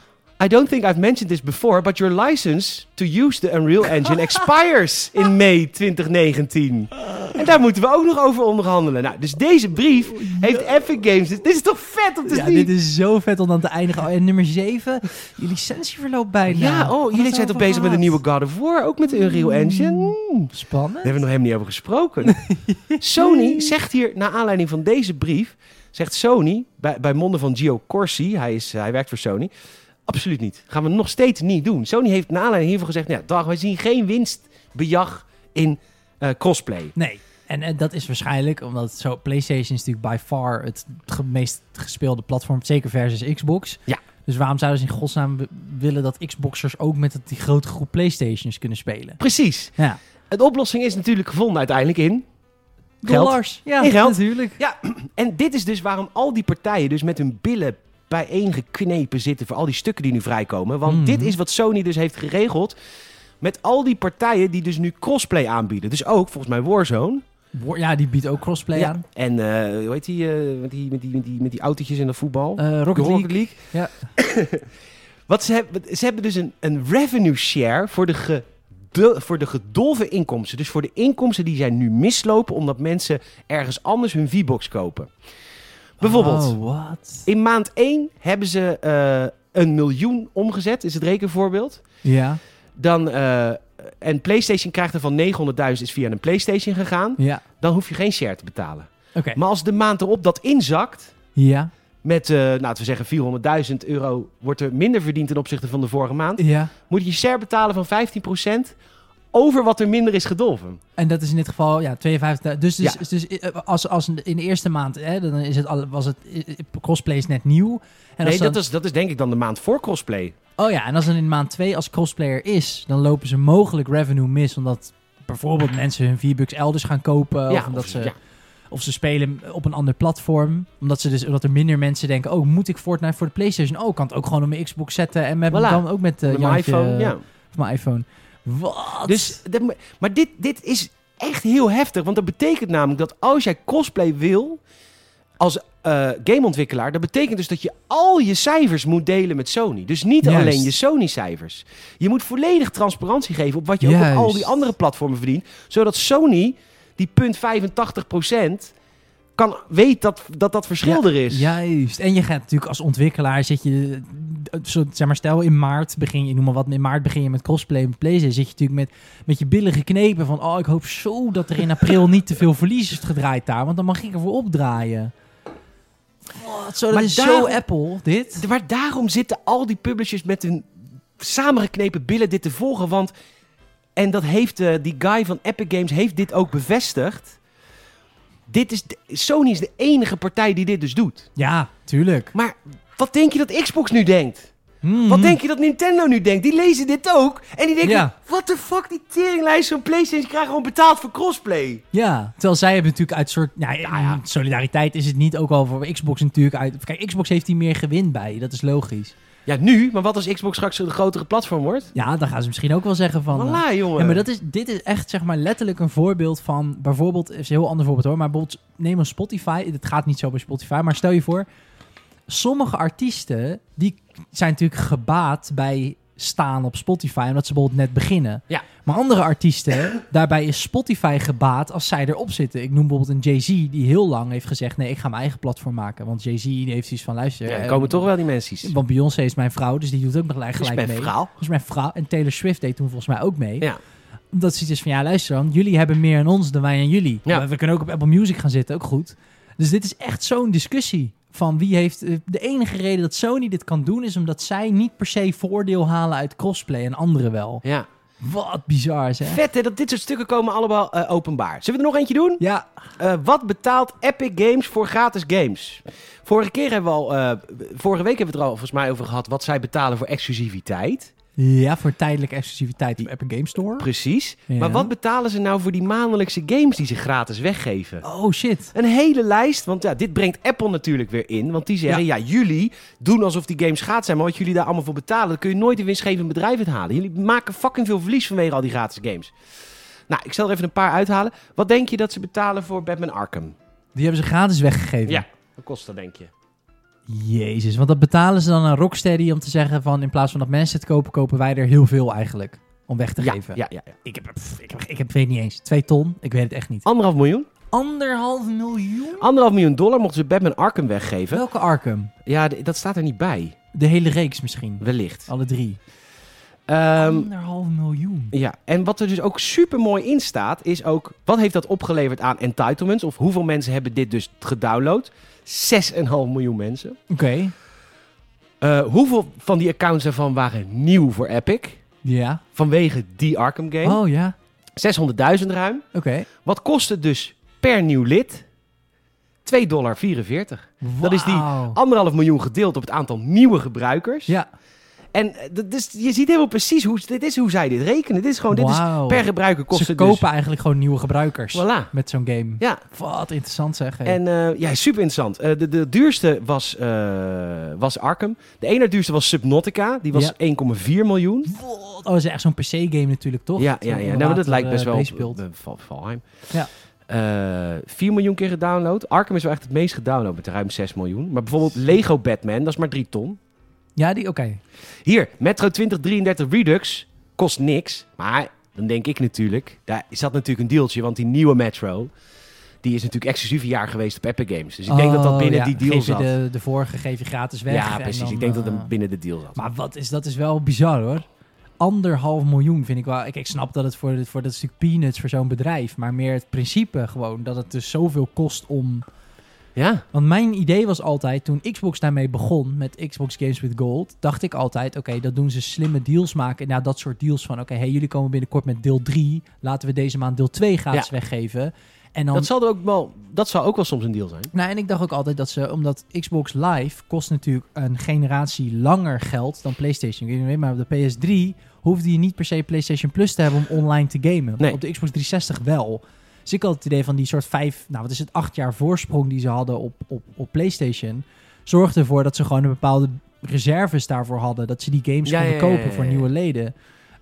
I don't think I've mentioned this before, but your license to use the Unreal Engine expires in mei 2019. En daar moeten we ook nog over onderhandelen. Nou, dus deze brief heeft Epic Games. Dit is toch vet om te ja, zien? dit is zo vet om dan te eindigen. Oh, en nummer 7, je licentie verloopt bijna. ja, oh, jullie zijn toch bezig met een nieuwe God of War, ook met de Unreal Engine? Mm. Spannend. Daar hebben we nog helemaal niet over gesproken. Sony zegt hier, naar aanleiding van deze brief, zegt Sony, bij, bij monden van Gio Corsi, hij, is, hij werkt voor Sony, absoluut niet. Gaan we nog steeds niet doen. Sony heeft naar aanleiding hiervan gezegd, nou, dag, wij zien geen winstbejag in eh, crossplay. Nee. En, en dat is waarschijnlijk omdat zo, PlayStation is natuurlijk by far het ge- meest gespeelde platform, zeker versus Xbox. Ja. Dus waarom zouden ze in godsnaam w- willen dat Xboxers ook met het- die grote groep PlayStations kunnen spelen? Precies. Ja. De oplossing is natuurlijk gevonden uiteindelijk in Geld. Dollars. Ja, In geld. natuurlijk. En dit is dus waarom al die partijen dus met hun billen bijeengeknepen zitten voor al die stukken die nu vrijkomen. Want Mhm. dit is wat Sony dus heeft geregeld met al die partijen die dus nu crossplay aanbieden. Dus ook volgens mij Warzone. Wo- Ja, die biedt ook crossplay Ja. aan. En eh, hoe heet die, eh, met, die, met, die, met, die, met die autootjes in dat voetbal? Eh, Rocket, De League. Ja. Wat ze, hebben, ze hebben dus een, een revenue share voor de, gedo- voor de gedolven inkomsten. Dus voor de inkomsten die zij nu mislopen omdat mensen ergens anders hun V-box kopen. Bijvoorbeeld. Oh, wat? In maand 1 hebben ze eh, een miljoen omgezet, is het rekenvoorbeeld. Ja, Dan, eh, en PlayStation krijgt er van 900.000 is via een PlayStation gegaan. ja. Dan hoef je geen share te betalen. Oké. Maar als de maand erop dat inzakt, Ja, met eh, laten we zeggen 400.000 euro, wordt er minder verdiend ten opzichte van de vorige maand. ja. Moet je share betalen van 15% over wat er minder is gedolven. En dat is in dit geval, ja, 52. Dus, dus, Ja. dus eh, als, als in de eerste maand, hè, dan is het, al- was het, eh, crossplay is net nieuw. En als nee, dan, dat is, dat is denk ik dan de maand voor crossplay. Oh ja, en als dan in maand 2 als crossplayer is, dan lopen ze mogelijk revenue mis, omdat bijvoorbeeld mensen hun V-Bucks elders gaan kopen. of, Oh, omdat of- ze, eh, ja. of ze spelen op een ander platform. Omdat, ze dus, omdat er minder mensen denken, oh, moet ik Fortnite voor de Playstation? Oh, ik kan het ook gewoon op mijn Xbox zetten en met, Voilà. dan ook met, eh, Met mijn Jantje, iPhone, ja. of mijn iPhone. Wat? Dus, dat mo- maar dit, dit is echt heel heftig. Want dat betekent namelijk dat als jij cosplay wil als eh, gameontwikkelaar, dat betekent dus dat je al je cijfers moet delen met Sony. Dus niet Juist. alleen je Sony-cijfers. Je moet volledig transparantie geven op wat je ook Juist. op al die andere platformen verdient. Zodat Sony die punt 85% kan, weet dat, dat dat verschil er is. Juist. En je gaat natuurlijk als ontwikkelaar zit je, eh, zo, zeg maar, stel in maart begin je, noem maar wat, in maart begin je met cosplay met PlayStation, zit je natuurlijk met, met je billen geknepen van, oh, ik hoop zo dat er in april niet te veel verlies is gedraaid daar, want dan mag ik ervoor opdraaien. Wat, zo, dat Maar is daarom- zo Apple, dit. D- Maar daarom zitten al die publishers met hun samengeknepen billen dit te volgen. Want, en dat heeft eh, die guy van Epic Games heeft dit ook bevestigd. Dit is de- Sony is de enige partij die dit dus doet. Ja, tuurlijk. Maar wat denk je dat Xbox nu denkt? Mhm. Wat denk je dat Nintendo nu denkt? Die lezen dit ook. En die denken, Ja. what the fuck, die teringlijst van PlayStation krijgen gewoon betaald voor crossplay. Ja, terwijl zij hebben natuurlijk uit soort... Nou, ja, ja. solidariteit is het niet, ook al voor Xbox natuurlijk uit... Kijk, Xbox heeft hier meer gewin bij, dat is logisch. Ja, nu, maar wat als Xbox straks een grotere platform wordt? Ja, dan gaan ze misschien ook wel zeggen van... eh, Voilà, jongen. Ja, maar dat is, dit is echt zeg maar letterlijk een voorbeeld van bijvoorbeeld, het is een heel ander voorbeeld hoor, maar bijvoorbeeld neem een Spotify, het gaat niet zo bij Spotify, maar stel je voor, sommige artiesten die zijn natuurlijk gebaat bij staan op Spotify, omdat ze bijvoorbeeld net beginnen. Ja. Maar andere artiesten, daarbij is Spotify gebaat als zij erop zitten. Ik noem bijvoorbeeld een Jay-Z die heel lang heeft gezegd, nee, ik ga mijn eigen platform maken, want Jay-Z die heeft iets van, luister, Ja, dan eh, komen toch wel die mensen. want Beyoncé is mijn vrouw, dus die doet ook nog gelijk Dat is gelijk mijn mee. verhaal. Dat is mijn vrouw. En Taylor Swift deed toen volgens mij ook mee. Ja. Omdat ze iets is van, ja luister dan, jullie hebben meer aan ons dan wij aan jullie. Ja. Maar We kunnen ook op Apple Music gaan zitten, ook goed. Dus dit is echt zo'n discussie. Van wie heeft... eh, De enige reden dat Sony dit kan doen is omdat zij niet per se voordeel halen uit crossplay en anderen wel. Ja. Wat bizar, zeg. Vet hè, dat dit soort stukken komen allemaal eh, openbaar. Zullen we er nog eentje doen? Ja, Eh, wat betaalt Epic Games voor gratis games? Vorige keer hebben we al, eh, vorige week hebben we het er al volgens mij over gehad wat zij betalen voor exclusiviteit. ja voor tijdelijke exclusiviteit op Epic Game Store. Precies. Ja. Maar wat betalen ze nou voor die maandelijkse games die ze gratis weggeven? Oh shit. Een hele lijst, want ja, dit brengt Apple natuurlijk weer in. Want die zeggen, ja, jullie doen alsof die games gratis zijn. Maar wat jullie daar allemaal voor betalen, dan kun je nooit een winstgevend bedrijf uithalen. Jullie maken fucking veel verlies vanwege al die gratis games. Nou, ik zal er even een paar uithalen. Wat denk je dat ze betalen voor Batman Arkham? Die hebben ze gratis weggegeven. Ja, wat kost dat denk je? Jezus, want dat betalen ze dan aan Rocksteady om te zeggen van in plaats van dat mensen het kopen, kopen wij er heel veel eigenlijk. Om weg te ja, geven. Ja, ja, ja. Ik heb, pff, ik heb, ik heb, weet niet eens. Twee ton? Ik weet het echt niet. Anderhalf miljoen. Anderhalf miljoen? Anderhalf miljoen dollar mochten ze Batman Arkham weggeven. Welke Arkham? Ja, d- dat staat er niet bij. De hele reeks misschien. Wellicht. Alle drie. Ehm, Anderhalf miljoen. ja, en wat er dus ook super mooi in staat, is ook wat heeft dat opgeleverd aan entitlements? Of hoeveel mensen hebben dit dus gedownload? 6,5 miljoen mensen. Oké. Eh, hoeveel van die accounts daarvan waren nieuw voor Epic? Ja. Vanwege die Arkham game. Oh ja. 600.000 ruim. Oké. Wat kost het dus per nieuw lid? 2,44 dollar. Dat is die Wauw. Anderhalf miljoen gedeeld op het aantal nieuwe gebruikers. Ja. En eh, dat is, je ziet helemaal precies hoe, dit is hoe zij dit rekenen. Oh, Dit is gewoon, dit Wauw. is per gebruiker kost Ze het kopen eigenlijk gewoon nieuwe gebruikers dus. Voilà. met zo'n game. Ja, Wat interessant zeg. hé. en eh, ja, super interessant. Eh, de, de duurste was, eh, was Arkham. De ene duurste was Subnautica. Die was Ja. 1,4 miljoen. Wat? Oh, dat is echt zo'n PC-game natuurlijk, toch? Ja, ja, Zo'n ja. Nou, maar dat later, lijkt best eh, wel meespeelt. op, eh, Val- Valheim. Ja. Eh, 4 miljoen keer gedownload. Arkham is wel echt het meest gedownload met ruim 6 miljoen. Maar bijvoorbeeld Lego Batman, dat is maar 3 ton. Ja, die, oké. Hier, Metro 2033 Redux kost niks. Maar dan denk ik natuurlijk, daar zat natuurlijk een dealtje. Want die nieuwe Metro, die is natuurlijk exclusief een jaar geweest op Epic Games. Dus ik denk dat dat Oh, binnen ja. die deal geef je zat. De, de vorige geef je gratis weg. ja, en precies. dan, ik denk dat eh, dat binnen de deal zat. Maar wat is, dat is wel bizar hoor. Anderhalf miljoen vind ik wel. Ik, ik snap dat het voor, dit- voor dat stuk peanuts voor zo'n bedrijf. Maar meer het principe gewoon. Dat het dus zoveel kost om. ja, Want mijn idee was altijd. Toen Xbox daarmee begon. Met Xbox Games with Gold. Dacht ik altijd. Oké, dat doen ze slimme deals maken. Nou, dat soort deals van. Oké, hey, jullie komen binnenkort met deel 3. Laten we deze maand deel 2 gratis Ja. weggeven. En dan dat zal, er ook wel, dat zal ook wel soms een deal zijn. nou, en ik dacht ook altijd dat ze, omdat Xbox Live kost natuurlijk een generatie langer geld dan PlayStation. Ik weet niet, maar op de PS3 hoefde je niet per se PlayStation Plus te hebben om online te gamen. Nee. Op de Xbox 360 wel. Dus ik had het idee van die soort vijf, nou wat is het, acht jaar voorsprong die ze hadden op, op, op PlayStation. Zorgde ervoor dat ze gewoon een bepaalde reserves daarvoor hadden. Dat ze die games Ja, konden ja, ja, kopen ja, ja, voor ja. nieuwe leden.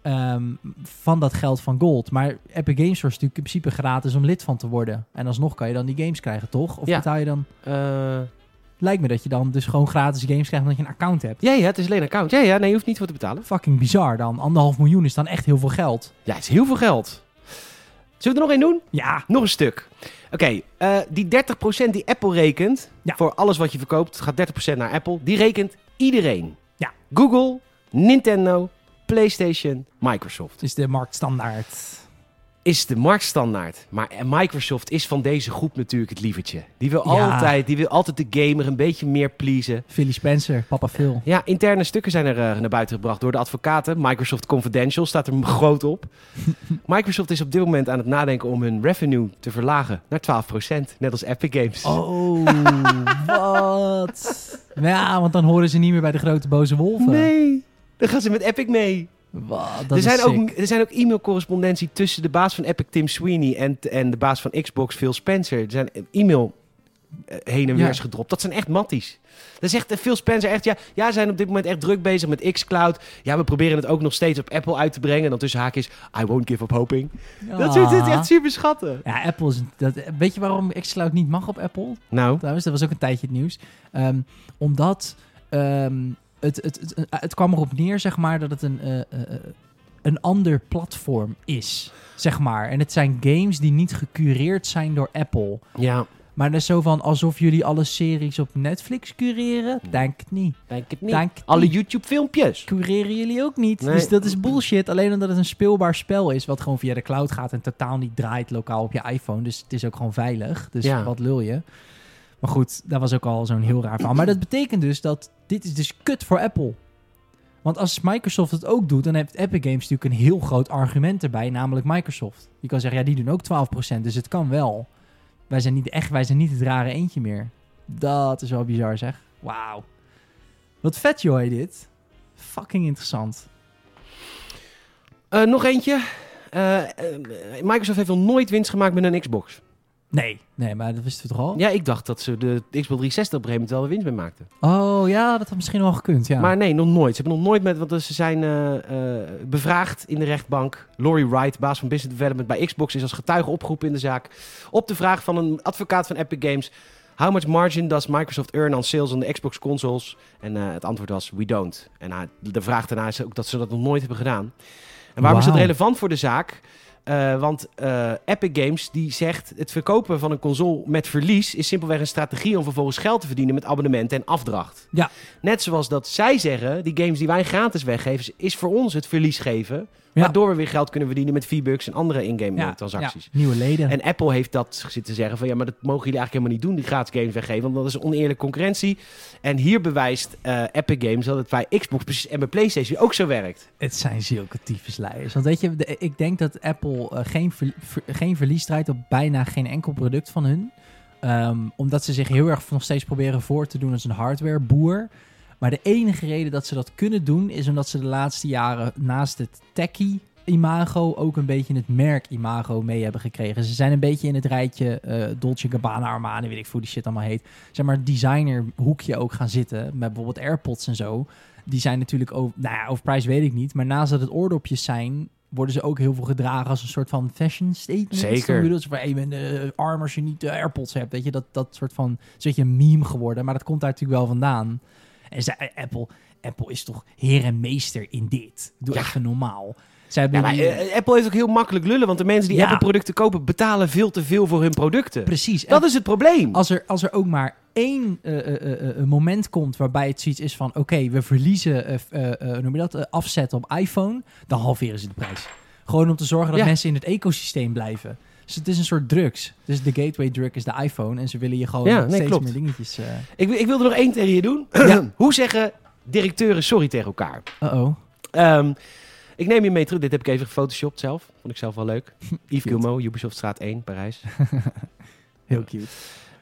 ehm, van dat geld van Gold. Maar Epic Games Store is natuurlijk in principe gratis om lid van te worden. En alsnog kan je dan die games krijgen, toch? Of Ja. betaal je dan Eh, lijkt me dat je dan dus gewoon gratis games krijgt omdat je een account hebt. ja, ja, het is alleen een account. Ja, ja, nee, je hoeft niet voor te betalen. Fucking bizar dan. Anderhalf miljoen is dan echt heel veel geld. Ja, het is heel veel geld. Zullen we er nog één doen? Ja. Nog een stuk. Oké, eh, die 30% die Apple rekent Ja. voor alles wat je verkoopt, gaat 30% naar Apple. Die rekent iedereen. Ja. Google, Nintendo, PlayStation, Microsoft. Het is de marktstandaard. Is de marktstandaard. Maar eh, Microsoft is van deze groep natuurlijk het lievertje. Die wil, Ja. altijd, die wil altijd de gamer een beetje meer pleasen. Philly Spencer, papa Phil. Ja, interne stukken zijn er eh, naar buiten gebracht door de advocaten. Microsoft Confidential staat er m- groot op. Microsoft is op dit moment aan het nadenken om hun revenue te verlagen naar 12%. Net als Epic Games. Oh, wat? Ja, want dan horen ze niet meer bij de grote boze wolven. Nee, dan gaan ze met Epic mee. Wat, dat Er zijn, is ook, sick. er zijn ook e-mailcorrespondentie tussen de baas van Epic, Tim Sweeney, en, en de baas van Xbox, Phil Spencer. Er zijn e-mail eh, heen en Ja. weer is gedropt. Dat zijn echt matties. Dan zegt eh, Phil Spencer echt, ja, ja, ze zijn op dit moment echt druk bezig met xCloud. Ja, we proberen het ook nog steeds op Apple uit te brengen. En dan tussen haakjes, I won't give up hoping. Dat soort dit is Ah. echt super schatten. Ja, Apple is... Dat, weet je waarom Xcloud niet mag op Apple? Nou, trouwens. Dat was ook een tijdje het nieuws. Ehm, omdat ehm, het, het, het, het, kwam erop neer, zeg maar, dat het een, eh, eh, eh, een ander platform is. Zeg maar. En het zijn games die niet gecureerd zijn door Apple. ja, Maar dat is zo van alsof jullie alle series op Netflix cureren. Denk het niet. denk het niet. Denk het Hmm. Alle niet. YouTube-filmpjes. Cureren jullie ook niet. Nee. Dus dat is bullshit. Alleen omdat het een speelbaar spel is, wat gewoon via de cloud gaat en totaal niet draait lokaal op je iPhone. Dus het is ook gewoon veilig. Dus Ja. wat lul je. Maar goed, dat was ook al zo'n heel raar verhaal. Maar dat betekent dus dat dit is dus kut voor Apple. Want als Microsoft het ook doet, dan heeft Epic Games natuurlijk een heel groot argument erbij, namelijk Microsoft. Je kan zeggen, ja, die doen ook 12%, dus het kan wel. Wij zijn niet echt, wij zijn niet het rare eentje meer. Dat is wel bizar, zeg. Wauw. Wat vet, joh, dit. Fucking interessant. Eh, nog eentje. Eh, eh, Microsoft heeft nog nooit winst gemaakt met een Xbox. Nee, nee, maar dat wisten we toch al? Ja, ik dacht dat ze de Xbox 360 op een gegeven moment wel weer winst mee maakten. Oh ja, dat had misschien wel gekund, ja. Maar nee, nog nooit. Ze hebben nog nooit met, want ze zijn eh, eh, bevraagd in de rechtbank. Laurie Wright, baas van Business Development bij Xbox, is als getuige opgeroepen in de zaak. Op de vraag van een advocaat van Epic Games: How much margin does Microsoft earn on sales on the Xbox consoles? En eh, het antwoord was: We don't. En eh, de vraag daarna is ook dat ze dat nog nooit hebben gedaan. En waarom is dat Wauw. relevant voor de zaak? Eh, want eh, Epic Games die zegt: het verkopen van een console met verlies is simpelweg een strategie om vervolgens geld te verdienen met abonnementen en afdracht. Ja. Net zoals dat zij zeggen: die games die wij gratis weggeven, is voor ons het verlies geven. Ja. Waardoor we weer geld kunnen verdienen met V-Bucks en andere in-game eh, ja, transacties. ja, nieuwe leden. En Apple heeft dat zitten zeggen van ja, maar dat mogen jullie eigenlijk helemaal niet doen, die gratis games weggeven, want dat is oneerlijke concurrentie. En hier bewijst eh, Epic Games dat het bij Xbox precies en bij PlayStation ook zo werkt. Het zijn zulke tyfusleiers. Want weet je, de- ik denk dat Apple eh, geen, verli- ver- geen verlies draait op bijna geen enkel product van hun. Ehm, omdat ze zich heel erg nog steeds proberen voor te doen als een hardwareboer. Maar de enige reden dat ze dat kunnen doen is omdat ze de laatste jaren naast het techie imago ook een beetje het merk imago mee hebben gekregen. Ze zijn een beetje in het rijtje eh, Dolce Gabbana, Armani, weet ik veel hoe die shit allemaal heet. Zeg maar designer hoekje ook gaan zitten met bijvoorbeeld AirPods en zo die zijn natuurlijk over, nou ja, overprijs weet ik niet. Maar naast dat het oordopjes zijn, worden ze ook heel veel gedragen als een soort van fashion statement. Zeker. Snap je? Dat ze van, hey, je bent eh, arm als je niet de AirPods hebt. Weet je, dat, dat soort van, het is een beetje een meme geworden. Maar dat komt daar natuurlijk wel vandaan. En ze, eh, Apple, Apple is toch heer en meester in dit. Doe Ja. even normaal. Zij hebben Ja, maar, hier- eh, Apple heeft ook heel makkelijk lullen, want de mensen die Ja. Apple producten kopen betalen veel te veel voor hun producten. precies. Oh. Dat is het probleem. als er, als er ook maar één eh, eh, eh, eh, moment komt waarbij het zoiets is van... oké, we verliezen eh, f- eh, eh, hoe noem je dat, eh, afzet op iPhone... dan halveren ze de prijs. Gewoon om te zorgen dat Ja. mensen in het ecosysteem blijven. Dus het is een soort drugs. Dus de gateway drug is de iPhone... en ze willen je gewoon Ja, nee, steeds klopt. meer dingetjes... eh Ik, wil- ik wilde nog één tegen je doen. Ja. Hoe zeggen directeuren sorry tegen elkaar? Uh-oh. Ehm, ik neem je mee terug. Dit heb ik even gefotoshopt zelf. Vond ik zelf wel leuk. Yves Cute. Guillemot, Ubisoftstraat 1, Parijs. Heel cute.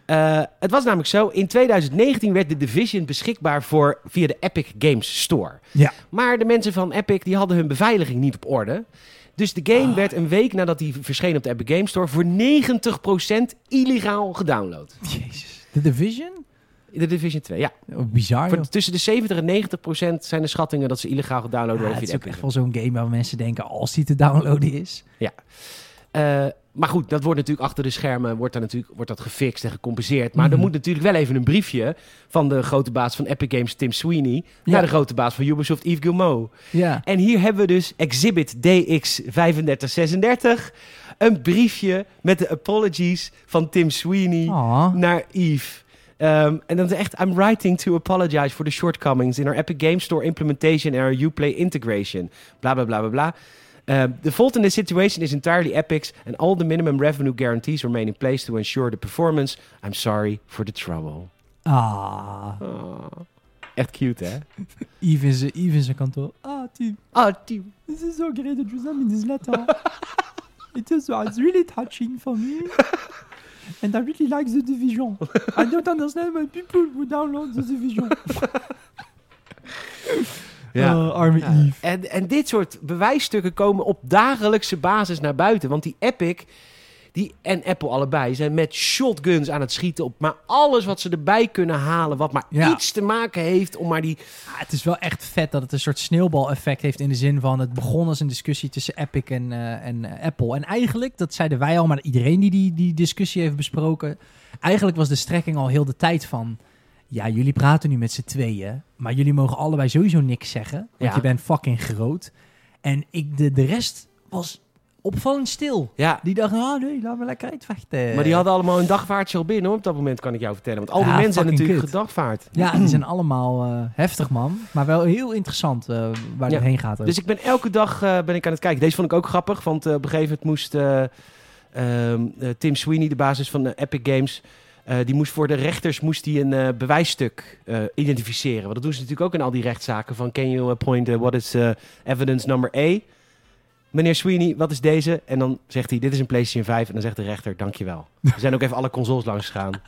Eh, het was namelijk zo, in 2019 werd de Division beschikbaar voor, via de Epic Games Store. Ja. Maar de mensen van Epic die hadden hun beveiliging niet op orde. Dus de game Ah. werd een week nadat die verscheen op de Epic Games Store voor 90% illegaal gedownload. Jezus. De Division? De Division 2, ja. Oh, bizar, Voor joh. tussen de 70 en 90% zijn de schattingen dat ze illegaal gedownload Ja, worden Ah, het via is de ook Epic. echt wel zo'n game waar mensen denken... als die te downloaden is... Eh, maar goed, dat wordt natuurlijk achter de schermen wordt daar natuurlijk, wordt dat gefixt en gecompenseerd. Maar er Mhm. moet natuurlijk wel even een briefje van de grote baas van Epic Games, Tim Sweeney, Ja. naar de grote baas van Ubisoft, Yves Guillemot. Ja. En hier hebben we dus Exhibit DX3536, een briefje met de apologies van Tim Sweeney Aw. naar Yves. Ehm, en dan is echt, I'm writing to apologize for the shortcomings in our Epic Game Store implementation and our Uplay integration. Bla bla bla bla bla. Ehm, the fault in this situation is entirely Epic's and all the minimum revenue guarantees remain in place to ensure the performance. I'm sorry for the trouble. Ah. Oh, echt cute, hè? Yves in zijn- Yves in zijn kantoor. Ah, team. Oh, team. This is so great that you sent me this letter. it is uh, it's really touching for me. And I really like the division. I don't understand why people who download the division. Oh, arme Ja. En, en dit soort bewijsstukken komen op dagelijkse basis naar buiten. Want die Epic die, en Apple allebei zijn met shotguns aan het schieten op maar alles wat ze erbij kunnen halen. Wat maar Ja. iets te maken heeft om maar die... Ah, het is wel echt vet dat het een soort sneeuwbaleffect heeft in de zin van het begon als een discussie tussen Epic en, eh, en eh, Apple. En eigenlijk, dat zeiden wij al, maar iedereen die, die die discussie heeft besproken, eigenlijk was de strekking al heel de tijd van, ja, jullie praten nu met z'n tweeën, maar jullie mogen allebei sowieso niks zeggen, want Ja. je bent fucking groot. En ik, de, de rest was opvallend stil. Ja, Die dachten, oh nee, laat me lekker uitvechten. maar die hadden allemaal een dagvaartje al binnen hoor, op dat moment kan ik jou vertellen. Want al die Ja, mensen zijn fucking natuurlijk kut. gedagvaard. Ja, die zijn allemaal eh, heftig, man. Maar wel heel interessant eh, waar Ja. het heen gaat. ook. Dus ik ben elke dag eh, ben ik aan het kijken. Deze vond ik ook grappig, want eh, op een gegeven moment moest eh, ehm, eh, Tim Sweeney, de basis van eh, Epic Games, Eh, die moest voor de rechters moest die een eh, bewijsstuk eh, identificeren. Want dat doen ze natuurlijk ook in al die rechtszaken. Van can you point eh, what is eh, evidence number A? Meneer Sweeney, wat is deze? En dan zegt hij, dit is een PlayStation 5. En dan zegt de rechter, dankjewel. We zijn ook even alle consoles langs gegaan.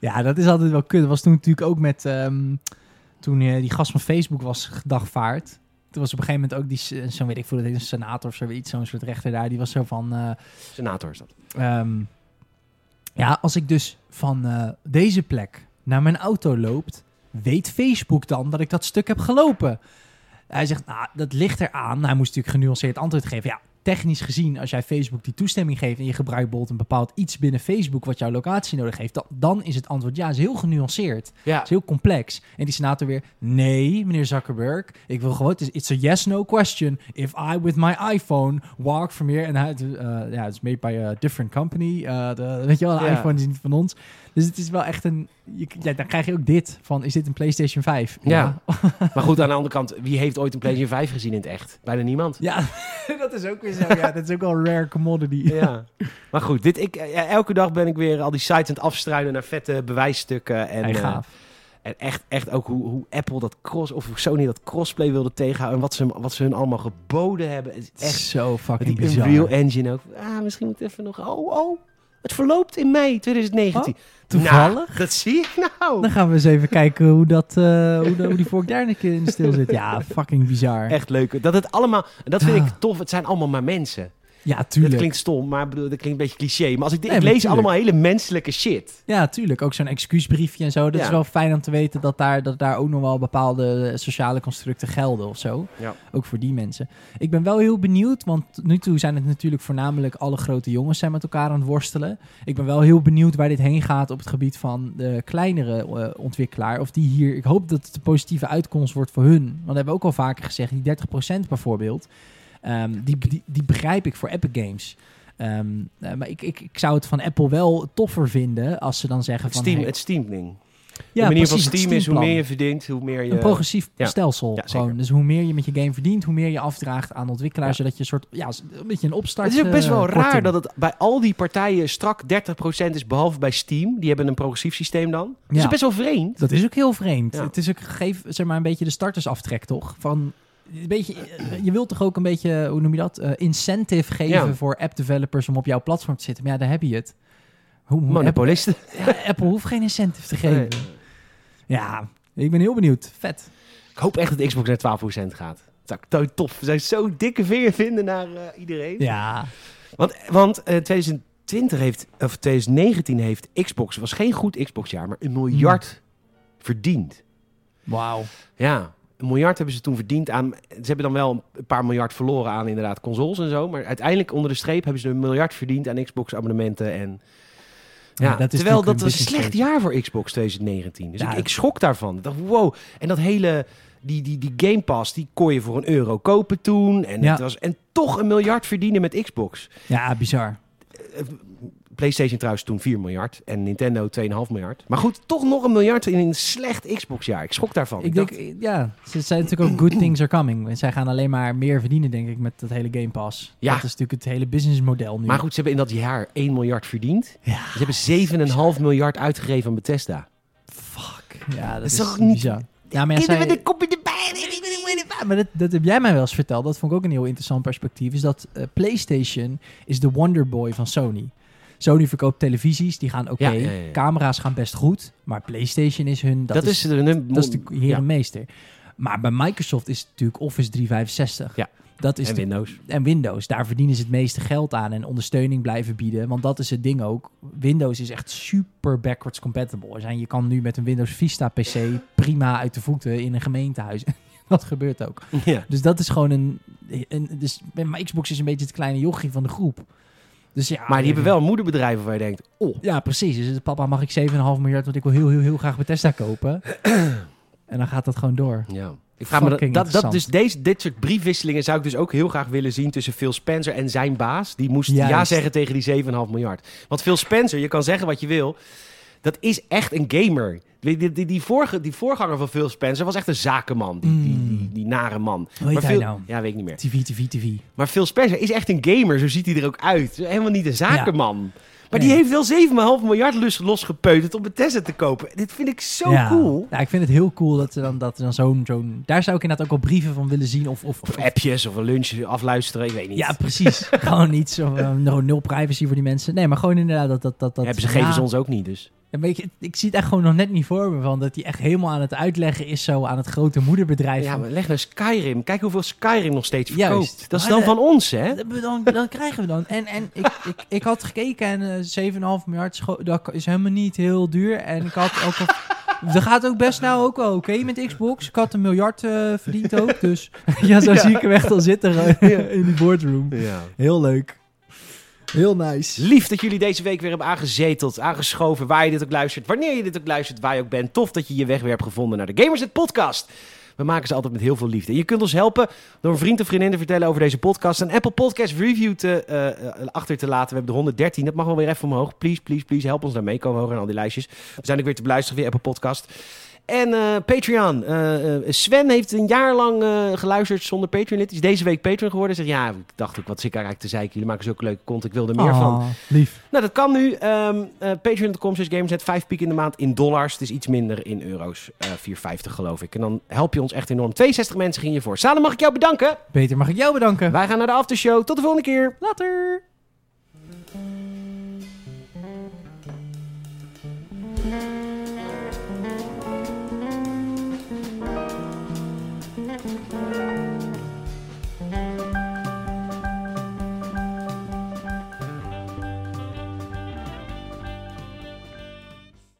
Ja, dat is altijd wel kut. Dat was toen natuurlijk ook met... ehm, toen eh, die gast van Facebook was gedagvaard. Toen was op een gegeven moment ook die... s- Zo'n weet ik veel, dat heet een senator of zoiets. Zo'n soort rechter daar. Die was zo van... eh, Senator is dat. ehm, ja, als ik dus van eh, deze plek naar mijn auto loop... Weet Facebook dan dat ik dat stuk heb gelopen? Hij zegt, nou, dat ligt eraan. Hij moest natuurlijk genuanceerd antwoord geven. Ja, technisch gezien, als jij Facebook die toestemming geeft... en je gebruikt bijvoorbeeld een bepaald iets binnen Facebook... wat jouw locatie nodig heeft, dan, dan is het antwoord ja. is heel genuanceerd. Ja, Het is heel complex. En die senator weer, nee, meneer Zuckerberg, ik wil gewoon, het is it's a yes-no question. If I with my iPhone walk from here, en hij, eh, ja, it's made by a different company. Eh, de- weet je wel, de Ja. iPhone is niet van ons. Dus het is wel echt een, je, ja, dan krijg je ook dit van, is dit een PlayStation 5? Ja. maar goed, aan de andere kant, wie heeft ooit een PlayStation 5 gezien in het echt? Bijna niemand. Ja, dat is ook weer zo. Ja, dat is ook wel een rare commodity. Ja. Maar goed, dit, ik, eh, elke dag ben ik weer al die sites aan het afstruinen naar vette bewijsstukken. En, Hij eh, gaaf. en echt, echt ook hoe, hoe Apple dat cross, of hoe Sony dat crossplay wilde tegenhouden. En wat ze, hem- wat ze hun allemaal geboden hebben. Het is Het echt is zo fucking Die bizar. Unreal Engine ook. Ah, misschien moet ik even nog... Oh, oh. Het verloopt in mei 2019. Oh, toevallig? Nou, dat zie ik nou. Dan gaan we eens even kijken hoe, dat, eh, hoe, de- hoe die vork daar een keer in stil zit. Ja, fucking bizar. Echt leuk. Dat het allemaal... En dat vind Ah. ik tof. Het zijn allemaal maar mensen. Ja, tuurlijk. Dat klinkt stom, maar ik bedoel, dat klinkt een beetje cliché. Maar als ik, dit- Nee, ik maar lees tuurlijk. allemaal hele menselijke shit. Ja, tuurlijk. Ook zo'n excuusbriefje en zo. Dat Ja. is wel fijn om te weten dat daar, dat daar ook nog wel bepaalde sociale constructen gelden of zo. Ja. Ook voor die mensen. Ik ben wel heel benieuwd, want tot nu toe zijn het natuurlijk voornamelijk alle grote jongens zijn met elkaar aan het worstelen. Ik ben wel heel benieuwd waar dit heen gaat op het gebied van de kleinere eh, ontwikkelaar. Of die hier, ik hoop dat het een positieve uitkomst wordt voor hun. Want dat hebben we ook al vaker gezegd, die 30% bijvoorbeeld. ehm, die, die, die begrijp ik voor Epic Games. Ehm, eh, maar ik, ik, ik zou het van Apple wel toffer vinden als ze dan zeggen Het van... Steam, hey, het Steam ding. ja, de manier van precies, het Steam is hoe meer Steam-plan. je verdient, hoe meer je... Een progressief Ja. stelsel. Ja, gewoon. zeker. Dus hoe meer je met je game verdient, hoe meer je afdraagt aan de ontwikkelaar. Ja. Zodat je een soort, ja, een beetje een opstart. Het is ook best wel eh, korting. raar dat het bij al die partijen strak 30% is, behalve bij Steam. Die hebben een progressief systeem dan. Dat Ja. is best wel vreemd. Dat is ook heel vreemd. Ja. Het is ook, geef zeg maar een beetje de startersaftrek toch? Van, een beetje, eh, je wilt toch ook een beetje, hoe noem je dat? eh, incentive geven Ja. voor app developers om op jouw platform te zitten. Maar ja, daar heb je het. Hoe, hoe- Monopolisten. Apple, ja, Apple hoeft geen incentive te geven. Nee. Ja, ik ben heel benieuwd. Vet. Ik hoop echt dat de Xbox naar 12% gaat. Dat zou ik to- tof. We zijn zo dikke veer vinden naar eh, iedereen. Ja, Want, want eh, 2020 heeft, of 2019 heeft Xbox, was geen goed Xbox-jaar, maar een miljard Hmm. verdiend. wauw. Ja, een miljard hebben ze toen verdiend aan. Ze hebben dan wel een paar miljard verloren aan inderdaad consoles en zo. Maar uiteindelijk onder de streep hebben ze een miljard verdiend aan Xbox-abonnementen en. Ja, Ja, dat is terwijl natuurlijk dat een was een business slecht case. jaar voor Xbox 2019. Dus Ja, ik, dat- ik schok daarvan. Ik dacht, wow. En dat hele, die, die, die Game Pass, die kon je voor een euro kopen toen. En, Ja. het was, en toch een miljard verdienen met Xbox. Ja, bizar. PlayStation trouwens toen 4 miljard en Nintendo 2,5 miljard. Maar goed, toch nog een miljard in een slecht Xbox-jaar. Oh, Ik schok daarvan. Ik denk, eh, ja, ze zijn natuurlijk ook good things are coming. En zij gaan alleen maar meer verdienen, denk ik, met dat hele Game Pass. Ja. Dat is natuurlijk het hele businessmodel nu. Maar goed, ze hebben in dat jaar 1 miljard verdiend. Ja. Ze hebben 7,5 miljard uitgegeven aan Bethesda. Fuck. Ja, dat, is is, toch niet- bizar. Ja, maar ja, zij- kopje erbij. Ja, maar dat, dat heb jij mij wel eens verteld. Dat vond ik ook een heel interessant perspectief. Is dat eh, PlayStation is de Wonderboy van Sony. Sony verkoopt televisies, die gaan oké. Ja, ja, ja, ja. Camera's gaan best goed. Maar PlayStation is hun... Dat, is, een, Dat is de heer ja. en meester. Maar bij Microsoft is het natuurlijk Office 365. Ja. Dat is en de- Windows. en Windows. Daar verdienen ze het meeste geld aan en ondersteuning blijven bieden. Want dat is het ding ook. Windows is echt super backwards compatible. Er zijn- je kan nu met een Windows Vista PC prima uit de voeten in een gemeentehuis. dat gebeurt ook. Ja. Dus dat is gewoon een... een dus, maar Xbox is een beetje het kleine jochie van de groep. Dus ja, Maar die hebben wel moederbedrijven waar je denkt, oh, Ja, precies. Dus papa, mag ik 7,5 miljard, want ik wil heel, heel, heel graag Bethesda kopen. en dan gaat dat gewoon door. Ja. Ik vraag me dat, Fucking dat, dat dus interessant. deze, dit soort briefwisselingen zou ik dus ook heel graag willen zien tussen Phil Spencer en zijn baas. Die moest ja Juist. zeggen tegen die 7,5 miljard. Want Phil Spencer, je kan zeggen wat je wil, dat is echt een gamer. Die, die, die, die, vorige, die voorganger van Phil Spencer was echt een zakenman. Die, die, die, die nare man. Mm. Hoe heet Maar hij Phil- nou? Ja, weet ik niet meer. TV, TV, TV. Maar Phil Spencer is echt een gamer, zo ziet hij er ook uit. Helemaal niet een zakenman. Maar die heeft wel 7,5 miljard lus losgepeuterd om Bethesda te kopen. Dit vind ik zo ja. cool. Ja, ik vind het heel cool dat er dan, dat er dan zo'n... zo'n daar zou ik inderdaad ook wel brieven van willen zien. Of, of, Of appjes of een lunch afluisteren, ik weet niet. ja, precies. gewoon iets. Of, eh, no- nul privacy voor die mensen. Nee, maar gewoon inderdaad dat... dat, dat, dat Hebben ze, geven ja. ze ons ook niet, dus. Ja, maar ik, ik zie het echt gewoon nog net niet voor me van dat hij echt helemaal aan het uitleggen is zo aan het grote moederbedrijf. Ja, van, maar leg naar Skyrim. Kijk hoeveel Skyrim nog steeds verkoopt. Juist. Dat is Maar dan de- van ons, hè? Dat- Dan, dan krijgen we dan. En, en ik, ik, ik had gekeken en eh, 7,5 miljard scho- dat is helemaal niet heel duur. En ik had ook. al- Dat gaat ook best nou ook wel oké met Xbox. Ik had een miljard eh, verdiend ook. Dus ja, zo zie ik hem echt al zitten eh, in die boardroom. Ja. Heel leuk. Heel nice. Lief dat jullie deze week weer hebben aangezeteld, aangeschoven, waar je dit ook luistert, wanneer je dit ook luistert, waar je ook bent. Tof dat je je weg weer hebt gevonden naar de Gamersnet podcast. We maken ze altijd met heel veel liefde. En je kunt ons helpen door een vriend of vriendin te vertellen over deze podcast. Een Apple Podcast review te, eh, eh, achter te laten. We hebben de 113. Dat mag wel weer even omhoog. Please, please, please. Help ons daarmee. Komen hoger en al die lijstjes. We zijn ook weer te beluisteren via Apple Podcast. En eh, Patreon. Eh, eh, Sven heeft een jaar lang eh, geluisterd zonder Patreon-lid. Is deze week Patreon geworden. Zegt, ja, ik dacht ook, wat zit ik eigenlijk te zeiken. Jullie maken zulke leuke content. Ik wil er meer Oh. van. Ah, Lief. Nou, dat kan nu. Ehm, eh, Patreon.com slash Gamersnet. Vijf piek in de maand in dollars. Het is iets minder in euro's. Eh 4,50 geloof ik. En dan help je ons echt enorm. 62 mensen gingen hiervoor. Salem, mag ik jou bedanken? Peter, mag ik jou bedanken? Wij gaan naar de aftershow. Tot de volgende keer. Later.